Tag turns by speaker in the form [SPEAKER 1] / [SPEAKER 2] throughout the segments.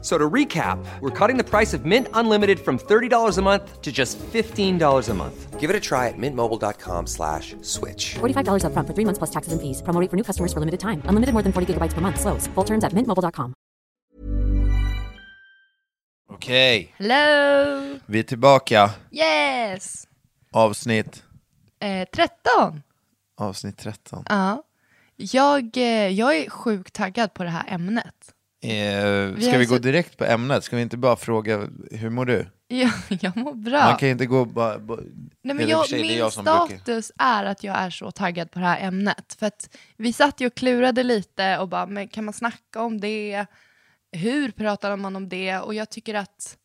[SPEAKER 1] So to recap, we're cutting the price of Mint Unlimited from $30 a month to just $15 a month. Give it a try at mintmobile.com slash switch.
[SPEAKER 2] $45 upfront for three months plus taxes and fees. Promo rate for new customers for limited time. Unlimited more than 40 gigabytes per month. Slows. Full terms at mintmobile.com.
[SPEAKER 3] Okej,
[SPEAKER 4] Hello!
[SPEAKER 3] vi är tillbaka.
[SPEAKER 4] Yes!
[SPEAKER 3] Avsnitt,
[SPEAKER 4] Eh, 13.
[SPEAKER 3] avsnitt 13.
[SPEAKER 4] Ja. Jag, eh, jag är sjukt taggad på det här ämnet.
[SPEAKER 3] Eh,
[SPEAKER 4] Vi
[SPEAKER 3] ska
[SPEAKER 4] har
[SPEAKER 3] vi
[SPEAKER 4] så-
[SPEAKER 3] gå direkt på ämnet? Ska vi inte bara fråga, hur mår du?
[SPEAKER 4] Jag, jag mår bra.
[SPEAKER 3] Man kan ju inte gå bara... bara
[SPEAKER 4] Nej,
[SPEAKER 3] eller i
[SPEAKER 4] men
[SPEAKER 3] och
[SPEAKER 4] jag,
[SPEAKER 3] för sig, det är
[SPEAKER 4] min
[SPEAKER 3] jag som brukar-
[SPEAKER 4] status är att jag är så taggad på det här ämnet. För att vi satt ju och klurade lite och bara, men kan man snacka om det? Hur pratar man om det? Och jag tycker att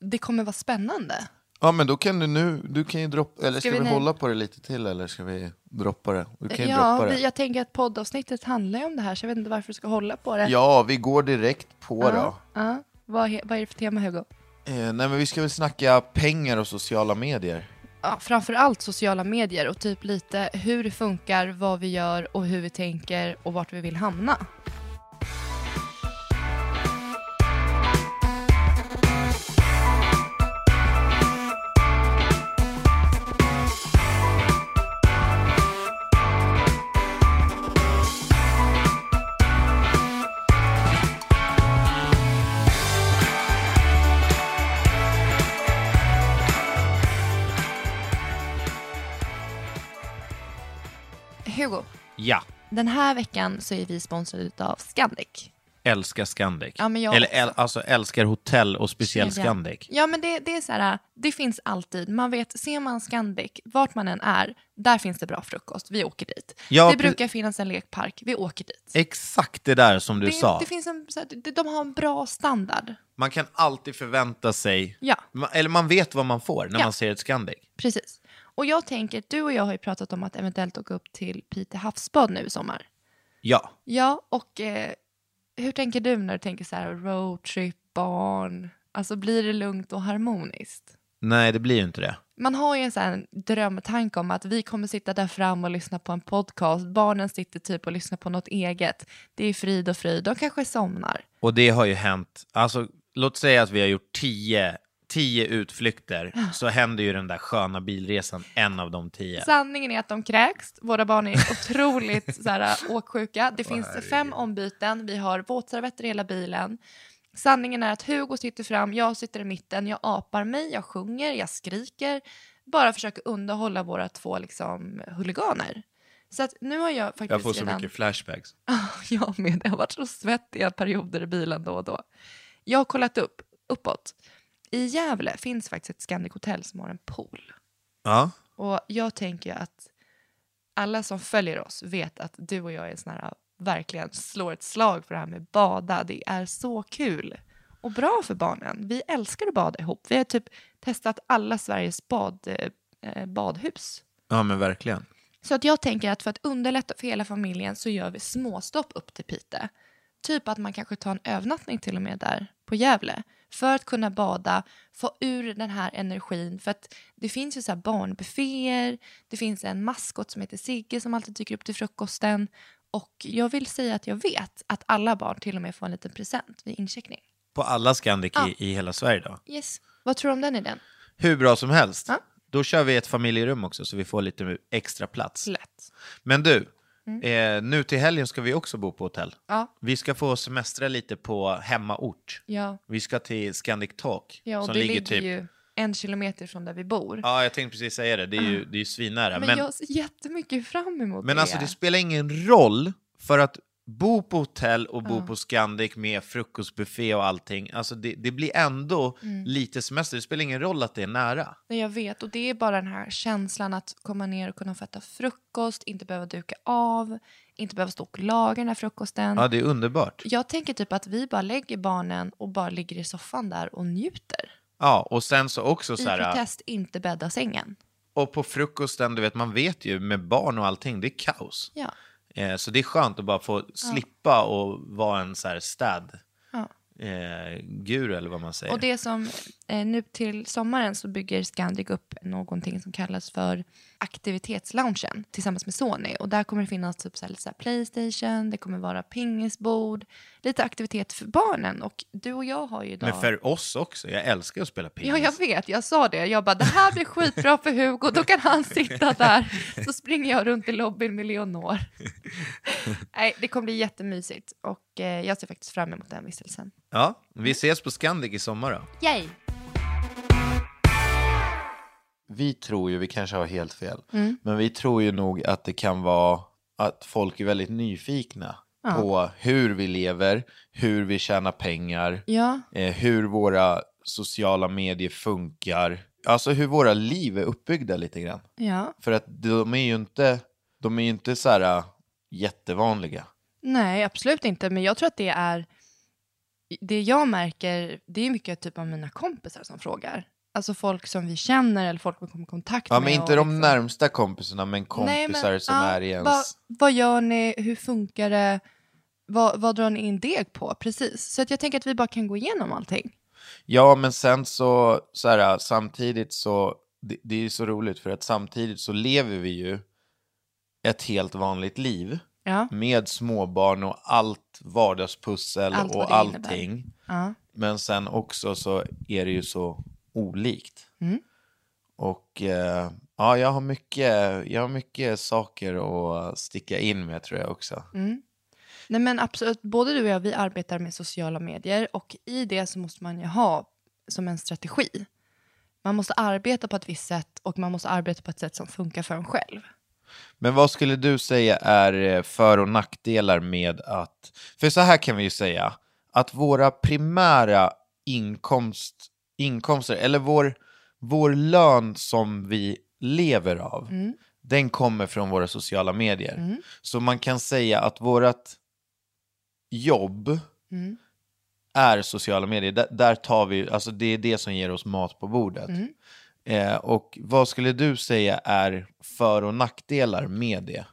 [SPEAKER 4] det kommer vara spännande.
[SPEAKER 3] Ja, men då kan du nu, du kan ju droppa, eller
[SPEAKER 4] Ska
[SPEAKER 3] ska,
[SPEAKER 4] vi
[SPEAKER 3] vi,
[SPEAKER 4] nu-
[SPEAKER 3] hålla på det lite till eller ska vi droppa det? Du kan ju
[SPEAKER 4] ja,
[SPEAKER 3] droppa det.
[SPEAKER 4] vi- jag tänker att poddavsnittet handlar ju om det här, så jag vet inte varför du ska hålla på det.
[SPEAKER 3] Ja, vi går direkt på då.
[SPEAKER 4] ja. ja. Vad, he- vad är det för tema, Hugo?
[SPEAKER 3] Eh, nej, men vi ska väl snacka pengar och sociala medier.
[SPEAKER 4] ja, framförallt sociala medier och typ lite hur det funkar, vad vi gör och hur vi tänker och vart vi vill hamna. Hugo,
[SPEAKER 5] Ja,
[SPEAKER 4] den här veckan så är vi sponsrade av Scandic.
[SPEAKER 5] älskar Scandic.
[SPEAKER 4] Ja, men jag
[SPEAKER 5] Eller
[SPEAKER 4] också.
[SPEAKER 5] äl, alltså älskar hotell och speciellt
[SPEAKER 4] Ja.
[SPEAKER 5] Scandic.
[SPEAKER 4] Ja, men det, det är så här, det finns alltid. Man vet, ser man Scandic, vart man än är, där finns det bra frukost. Vi åker dit.
[SPEAKER 5] Ja,
[SPEAKER 4] det
[SPEAKER 5] pre-
[SPEAKER 4] brukar finnas en lekpark. Vi åker dit.
[SPEAKER 5] Exakt det där som du
[SPEAKER 4] Det,
[SPEAKER 5] sa.
[SPEAKER 4] det finns en, så här, de- de har en bra standard.
[SPEAKER 5] Man kan alltid förvänta sig,
[SPEAKER 4] Ja.
[SPEAKER 5] Ma- eller man vet vad man får när
[SPEAKER 4] Ja.
[SPEAKER 5] man ser ett Scandic.
[SPEAKER 4] Precis. Och jag tänker, du och jag har ju pratat om att eventuellt åka upp till Pite havsbad nu i sommar.
[SPEAKER 5] Ja,
[SPEAKER 4] Ja, och eh, hur tänker du när du tänker så här roadtrip, barn? Alltså blir det lugnt och harmoniskt?
[SPEAKER 5] nej det blir ju inte det.
[SPEAKER 4] Man har ju en sån här drömtanke om att vi kommer sitta där fram och lyssna på en podcast. Barnen sitter typ och lyssnar på något eget. Det är frid och fröjd. De kanske somnar.
[SPEAKER 5] Och det har ju hänt, alltså låt säga att vi har gjort tio, tio utflykter, så händer ju den där sköna bilresan en av de tio.
[SPEAKER 4] Sanningen är att de kräks. Våra barn är otroligt så här, äh, åksjuka. Det finns fem ombyten. Vi har våtservetter i hela bilen. Sanningen är att Hugo sitter fram, jag sitter i mitten, jag apar mig, jag sjunger, jag skriker. Bara försöker underhålla våra två liksom, huliganer. Så att nu har jag faktiskt
[SPEAKER 5] Jag får så
[SPEAKER 4] redan...
[SPEAKER 5] mycket flashbacks.
[SPEAKER 4] jag med, det har varit så svettiga perioder i bilen då och då. Jag har kollat upp, uppåt. I Gävle finns faktiskt ett Scandic Hotel som har en pool.
[SPEAKER 5] Ja.
[SPEAKER 4] Och jag tänker ju att alla som följer oss vet att du och jag är såna här, verkligen slår ett slag för det här med bada. Det är så kul och bra för barnen. Vi älskar att bada ihop. Vi har typ testat alla Sveriges bad, eh, badhus.
[SPEAKER 5] ja, men verkligen.
[SPEAKER 4] Så att jag tänker att för att underlätta för hela familjen så gör vi småstopp upp till Pite. Typ att man kanske tar en övernattning till och med där på Gävle. för att kunna bada, få ur den här energin. För att det finns ju så här barnbufféer, det finns en maskot som heter Sigge som alltid dyker upp till frukosten. Och jag vill säga att jag vet att alla barn till och med får en liten present vid incheckning.
[SPEAKER 5] På alla Scandic
[SPEAKER 4] Ja.
[SPEAKER 5] i, i hela Sverige då?
[SPEAKER 4] Yes. Vad tror du om den idén?
[SPEAKER 5] Hur bra som helst.
[SPEAKER 4] Ja.
[SPEAKER 5] Då kör vi ett familjerum också så vi får lite extra plats.
[SPEAKER 4] Lätt.
[SPEAKER 5] Men du, eh, nu till helgen ska vi också bo på hotell.
[SPEAKER 4] Mm. Ja.
[SPEAKER 5] Vi ska få semestra lite på hemmaort.
[SPEAKER 4] Ja,
[SPEAKER 5] Vi ska till Scandic Talk
[SPEAKER 4] ja och
[SPEAKER 5] som
[SPEAKER 4] det
[SPEAKER 5] ligger
[SPEAKER 4] ligger
[SPEAKER 5] typ...
[SPEAKER 4] ju en kilometer från där vi bor.
[SPEAKER 5] Ja, jag tänkte precis säga det. Det är ju, det är ju svinnära.
[SPEAKER 4] men,
[SPEAKER 5] Men, men,
[SPEAKER 4] jag ser jättemycket fram emot det.
[SPEAKER 5] alltså det spelar ingen roll för att bo på hotell och bo på Scandic med frukostbuffé och allting. Alltså det, det blir ändå
[SPEAKER 4] Mm.
[SPEAKER 5] lite semester. Det spelar ingen roll att det är nära.
[SPEAKER 4] Nej, jag vet. Och det är bara den här känslan att komma ner och kunna få äta frukost, inte behöva duka av, inte behöva stå och laga den här frukosten.
[SPEAKER 5] Ja, det är underbart.
[SPEAKER 4] Jag tänker typ att vi bara lägger barnen och bara ligger i soffan där och njuter.
[SPEAKER 5] Ja, och sen så också
[SPEAKER 4] I
[SPEAKER 5] så här...
[SPEAKER 4] protest, inte bädda sängen.
[SPEAKER 5] Och på frukosten, du vet, man vet ju med barn och allting, det är kaos.
[SPEAKER 4] Ja.
[SPEAKER 5] Eh, så det är skönt att bara få slippa och vara en så här städ.
[SPEAKER 4] Ja.
[SPEAKER 5] Eh, guru eller vad man säger.
[SPEAKER 4] Och det som, eh, nu till sommaren så bygger Scandic upp någonting som kallas för aktivitetsloungen tillsammans med Sony. Och där kommer det finnas typ så här, lite så här Playstation, det kommer vara pingisbord, lite aktivitet för barnen. Och du och jag har ju idag...
[SPEAKER 5] Men för oss också, jag älskar att spela pingis.
[SPEAKER 4] Ja, jag vet. Jag sa det. Jag bara, det här blir skitbra för Hugo. Då kan han sitta där. Så springer jag runt i lobbyn med Leonor. Nej, det kommer bli jättemysigt. Och eh, jag ser faktiskt fram emot den vistelsen.
[SPEAKER 5] Ja, vi ses på Scandic i sommar då.
[SPEAKER 4] Yay!
[SPEAKER 3] Vi tror ju, vi kanske har helt fel,
[SPEAKER 4] Mm.
[SPEAKER 3] men vi tror ju nog att det kan vara att folk är väldigt nyfikna på hur vi lever, hur vi tjänar pengar,
[SPEAKER 4] Ja,
[SPEAKER 3] eh, hur våra sociala medier funkar, alltså hur våra liv är uppbyggda lite grann.
[SPEAKER 4] ja.
[SPEAKER 3] För att de är ju inte, de är ju inte så här äh, jättevanliga.
[SPEAKER 4] Nej, absolut inte. Men jag tror att det är... Det jag märker, det är mycket typ av mina kompisar som frågar. Alltså folk som vi känner eller folk vi kommer i kontakt
[SPEAKER 3] Ja,
[SPEAKER 4] med.
[SPEAKER 3] men
[SPEAKER 4] och
[SPEAKER 3] inte de
[SPEAKER 4] liksom-
[SPEAKER 3] närmsta kompisarna, men kompisar
[SPEAKER 4] Nej, men,
[SPEAKER 3] som
[SPEAKER 4] ja,
[SPEAKER 3] är i ens...
[SPEAKER 4] Vad, vad gör ni? Hur funkar det? Vad, vad drar ni in deg på? Precis. Så att jag tänker att vi bara kan gå igenom allting.
[SPEAKER 3] Ja, men sen så, så här, samtidigt så, det, det är ju så roligt för att samtidigt så lever vi ju ett helt vanligt liv
[SPEAKER 4] Ja.
[SPEAKER 3] med småbarn och allt vardagspussel
[SPEAKER 4] Allt vad
[SPEAKER 3] och
[SPEAKER 4] det innebär.
[SPEAKER 3] allting.
[SPEAKER 4] ja.
[SPEAKER 3] Men sen också så är det ju så olikt.
[SPEAKER 4] Mm.
[SPEAKER 3] Och eh, ja, jag har, mycket, jag har mycket saker att sticka in med tror jag också.
[SPEAKER 4] Nej, men absolut. Både du och jag, vi arbetar med sociala medier och i det så måste man ju ha som en strategi. Man måste arbeta på ett visst sätt och man måste arbeta på ett sätt som funkar för en själv.
[SPEAKER 3] Men vad skulle du säga är eh, för och nackdelar med att... För så här kan vi ju säga, att våra primära inkomst, inkomster, eller vår, vår lön som vi lever av, den kommer från våra sociala medier. Så man kan säga att vårt jobb är sociala medier. Där, där tar vi, alltså det är det som ger oss mat på bordet. Eh, och vad skulle du säga är för och nackdelar med det?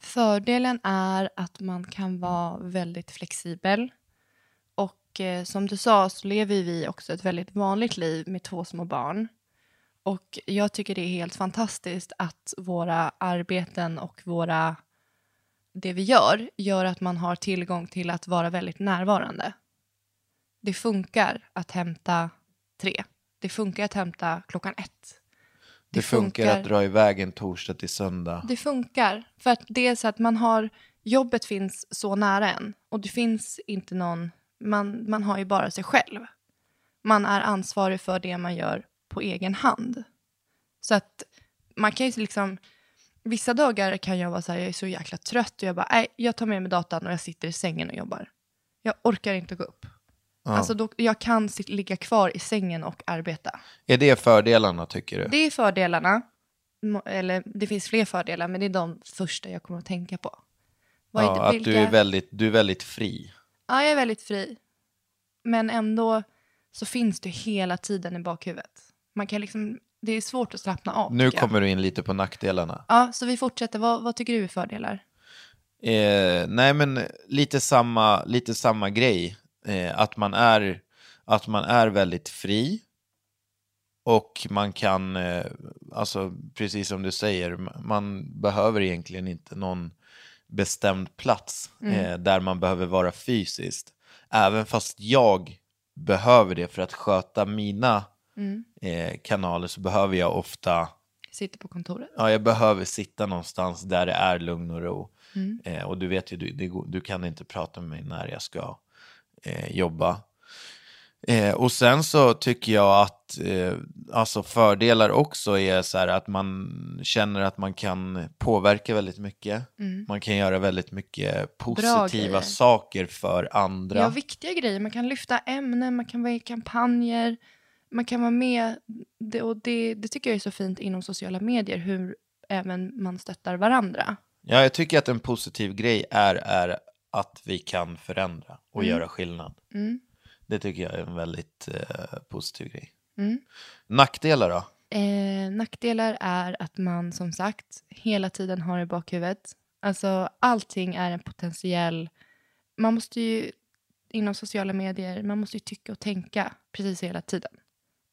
[SPEAKER 4] Fördelen är att man kan vara väldigt flexibel. Och eh, som du sa så lever vi också ett väldigt vanligt liv med två små barn. Och jag tycker det är helt fantastiskt att våra arbeten och våra, det vi gör gör att man har tillgång till att vara väldigt närvarande. Det funkar att hämta tre. Det funkar att hämta klockan ett.
[SPEAKER 3] Det, funkar,
[SPEAKER 4] funkar.
[SPEAKER 3] att dra iväg en torsdag till söndag.
[SPEAKER 4] Det funkar. För att det är så att man har, jobbet finns så nära en. Och det finns inte någon, man, man har ju bara sig själv. Man är ansvarig för det man gör på egen hand. Så att man kan ju liksom, vissa dagar kan jag vara så här, jag är så jäkla trött och jag bara, nej, jag tar med mig datan och jag sitter i sängen och jobbar. Jag orkar inte gå upp. Alltså då, jag kan sit, ligga kvar i sängen och arbeta.
[SPEAKER 3] Är det fördelarna tycker du?
[SPEAKER 4] Det är fördelarna. Mo- Eller det finns fler fördelar, men det är de första jag kommer att tänka på. Vad är
[SPEAKER 3] ja,
[SPEAKER 4] det-
[SPEAKER 3] att
[SPEAKER 4] vilka-
[SPEAKER 3] du är, väldigt, du är väldigt fri.
[SPEAKER 4] Ja, jag är väldigt fri. Men ändå så finns det hela tiden i bakhuvudet. Man kan liksom, det är svårt att slappna av.
[SPEAKER 3] Nu
[SPEAKER 4] tycker jag.
[SPEAKER 3] kommer du in lite på nackdelarna.
[SPEAKER 4] Ja, så vi fortsätter. Vad, vad tycker du är fördelar?
[SPEAKER 3] Eh, nej, men lite samma, lite samma grej. Eh, att man är... att man är väldigt fri och man kan, eh, alltså precis som du säger, ma- man behöver egentligen inte någon bestämd plats eh, där man behöver vara fysiskt. Även fast jag behöver det för att sköta mina eh, kanaler så behöver jag ofta
[SPEAKER 4] Sitter på kontoret.
[SPEAKER 3] ja, jag behöver sitta någonstans där det är lugn och ro. Eh, och du vet ju, du, det går- du kan inte prata med mig när jag ska eh, jobba. Eh, och sen så tycker jag att eh, alltså fördelar också är så här att man känner att man kan påverka väldigt mycket. Man kan göra väldigt mycket
[SPEAKER 4] grejer.
[SPEAKER 3] positiva saker för andra.
[SPEAKER 4] Ja, viktiga grejer. Man kan lyfta ämnen, man kan vara i kampanjer, man kan vara med. Det, och det, det tycker jag är så fint inom sociala medier, hur även man stöttar varandra.
[SPEAKER 3] Ja, jag tycker att en positiv grej är, är att vi kan förändra och
[SPEAKER 4] Mm.
[SPEAKER 3] göra skillnad. Det tycker jag är en väldigt eh, positiv grej.
[SPEAKER 4] Mm.
[SPEAKER 3] Nackdelar då?
[SPEAKER 4] Eh, nackdelar är att man som sagt hela tiden har i bakhuvudet. Alltså allting är en potentiell... Man måste ju inom sociala medier, man måste ju tycka och tänka precis hela tiden.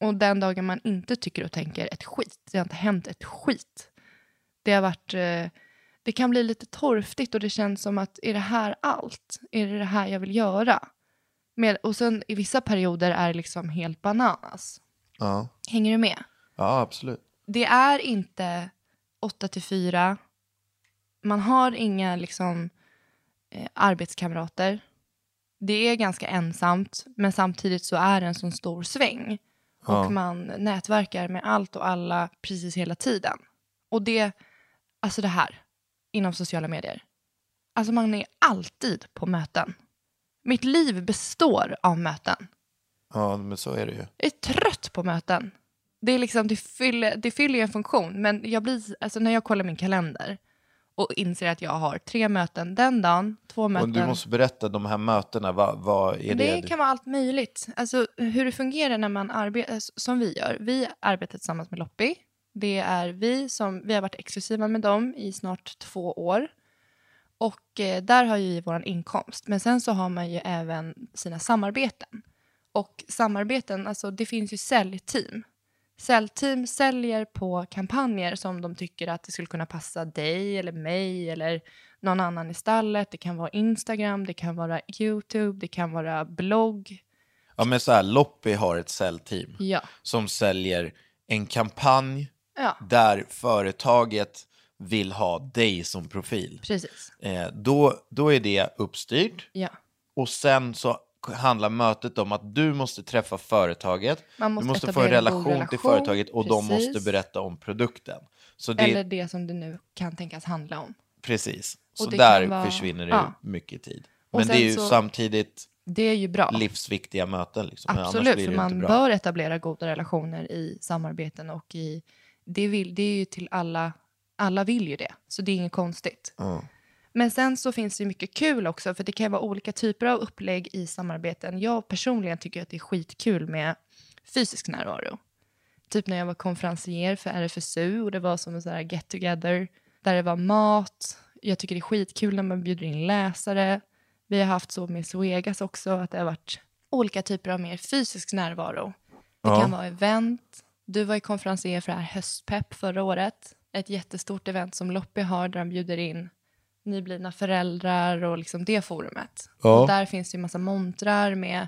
[SPEAKER 4] Och den dagen man inte tycker och tänker ett skit, det har inte hänt ett skit. Det har varit... Eh, det kan bli lite torftigt och det känns som att är det här allt? Är det det här jag vill göra? Med, och sen i vissa perioder är det liksom helt bananas.
[SPEAKER 3] Ja,
[SPEAKER 4] Hänger du med?
[SPEAKER 3] ja absolut.
[SPEAKER 4] det är inte 8 till 4. Man har inga liksom, eh, arbetskamrater. Det är ganska ensamt, men samtidigt så är det en sån stor sväng. Och man nätverkar med allt och alla precis hela tiden. Och det, alltså det här, inom sociala medier. Alltså man är alltid på möten. Mitt liv består av möten.
[SPEAKER 3] Ja, men så är det ju.
[SPEAKER 4] Jag är trött på möten. Det, är liksom, det, fyller, det fyller ju en funktion, men jag blir, alltså, när jag kollar min kalender och inser att jag har tre möten den dagen, två möten.
[SPEAKER 3] Och du måste berätta, de här mötena, vad, vad är det?
[SPEAKER 4] det kan vara allt möjligt. Alltså, hur det fungerar när man arbetar, alltså, som vi gör. Vi arbetar tillsammans med Loppi. Det är vi som, vi har varit exklusiva med dem i snart två år. Och eh, där har ju vi vår inkomst. Men sen så har man ju även sina samarbeten. Och samarbeten, alltså det finns ju säljteam. Säljteam säljer på kampanjer som de tycker att det skulle kunna passa dig eller mig eller någon annan i stallet. Det kan vara Instagram, det kan vara YouTube, det kan vara blogg.
[SPEAKER 3] Ja, men så här, Loppy har ett säljteam
[SPEAKER 4] Ja.
[SPEAKER 3] som säljer en kampanj
[SPEAKER 4] Ja,
[SPEAKER 3] där företaget vill ha dig som profil.
[SPEAKER 4] precis.
[SPEAKER 3] Eh, då, då är det uppstyrt.
[SPEAKER 4] Ja.
[SPEAKER 3] Och sen så handlar mötet om att du måste träffa företaget,
[SPEAKER 4] Man måste
[SPEAKER 3] du måste få en
[SPEAKER 4] etablera en
[SPEAKER 3] relation,
[SPEAKER 4] god
[SPEAKER 3] till
[SPEAKER 4] relation,
[SPEAKER 3] företaget och de
[SPEAKER 4] precis.
[SPEAKER 3] måste berätta om produkten. Så det,
[SPEAKER 4] Eller det som det nu kan tänkas handla om.
[SPEAKER 3] precis, så
[SPEAKER 4] och det
[SPEAKER 3] där
[SPEAKER 4] kan vara-
[SPEAKER 3] försvinner det
[SPEAKER 4] ja.
[SPEAKER 3] mycket tid.
[SPEAKER 4] Och
[SPEAKER 3] Men det
[SPEAKER 4] sen
[SPEAKER 3] är ju
[SPEAKER 4] så-
[SPEAKER 3] samtidigt
[SPEAKER 4] Det är ju bra.
[SPEAKER 3] livsviktiga möten. Liksom. men annars
[SPEAKER 4] Absolut,
[SPEAKER 3] blir
[SPEAKER 4] för
[SPEAKER 3] det ju
[SPEAKER 4] man
[SPEAKER 3] inte bra.
[SPEAKER 4] bör etablera goda relationer i samarbeten och i... Det, vill, det är ju till alla... Alla vill ju det, så det är inget konstigt. Men sen så finns det ju mycket kul också, för det kan ju vara olika typer av upplägg i samarbeten. Jag personligen tycker att det är skitkul med fysisk närvaro. Typ när jag var konferencier för RFSU och det var som en sån här get together där det var mat. Jag tycker det är skitkul när man bjuder in läsare. Vi har haft så med Suegas också, att det har varit olika typer av mer fysisk närvaro. Det kan vara event. Du var ju konferencier för det här höstpepp förra året. Ett jättestort event som Loppi har där de bjuder in nyblivna föräldrar och liksom det forumet. Och där finns det ju massa montrar med,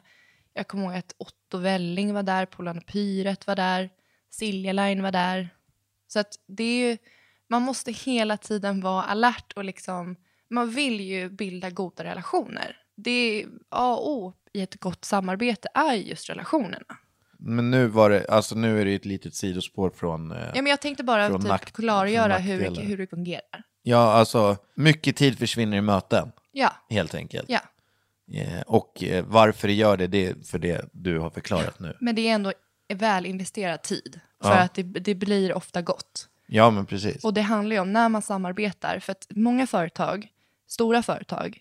[SPEAKER 4] jag kommer ihåg att Otto Welling var där, Polan och Pyret var där, Silja Line var där. Så att det är ju, man måste hela tiden vara alert och liksom, man vill ju bilda goda relationer. Det är A och O i ett gott samarbete är ju just relationerna.
[SPEAKER 3] Men nu, var det, alltså, nu är det ju ett litet sidospår från... eh,
[SPEAKER 4] Ja, men jag tänkte bara
[SPEAKER 3] Från
[SPEAKER 4] typ
[SPEAKER 3] nack-
[SPEAKER 4] klargöra
[SPEAKER 3] från
[SPEAKER 4] hur,
[SPEAKER 3] nackdelar.
[SPEAKER 4] mycket- hur det fungerar.
[SPEAKER 3] ja, alltså, mycket tid försvinner i möten,
[SPEAKER 4] Ja,
[SPEAKER 3] helt enkelt.
[SPEAKER 4] ja.
[SPEAKER 3] Eh, och eh, varför det gör det, det är för det du har förklarat nu.
[SPEAKER 4] Men det är ändå väl investerad tid. För att det, det blir ofta gott.
[SPEAKER 3] Ja, men precis.
[SPEAKER 4] Och det handlar ju om när man samarbetar. För att många företag, stora företag,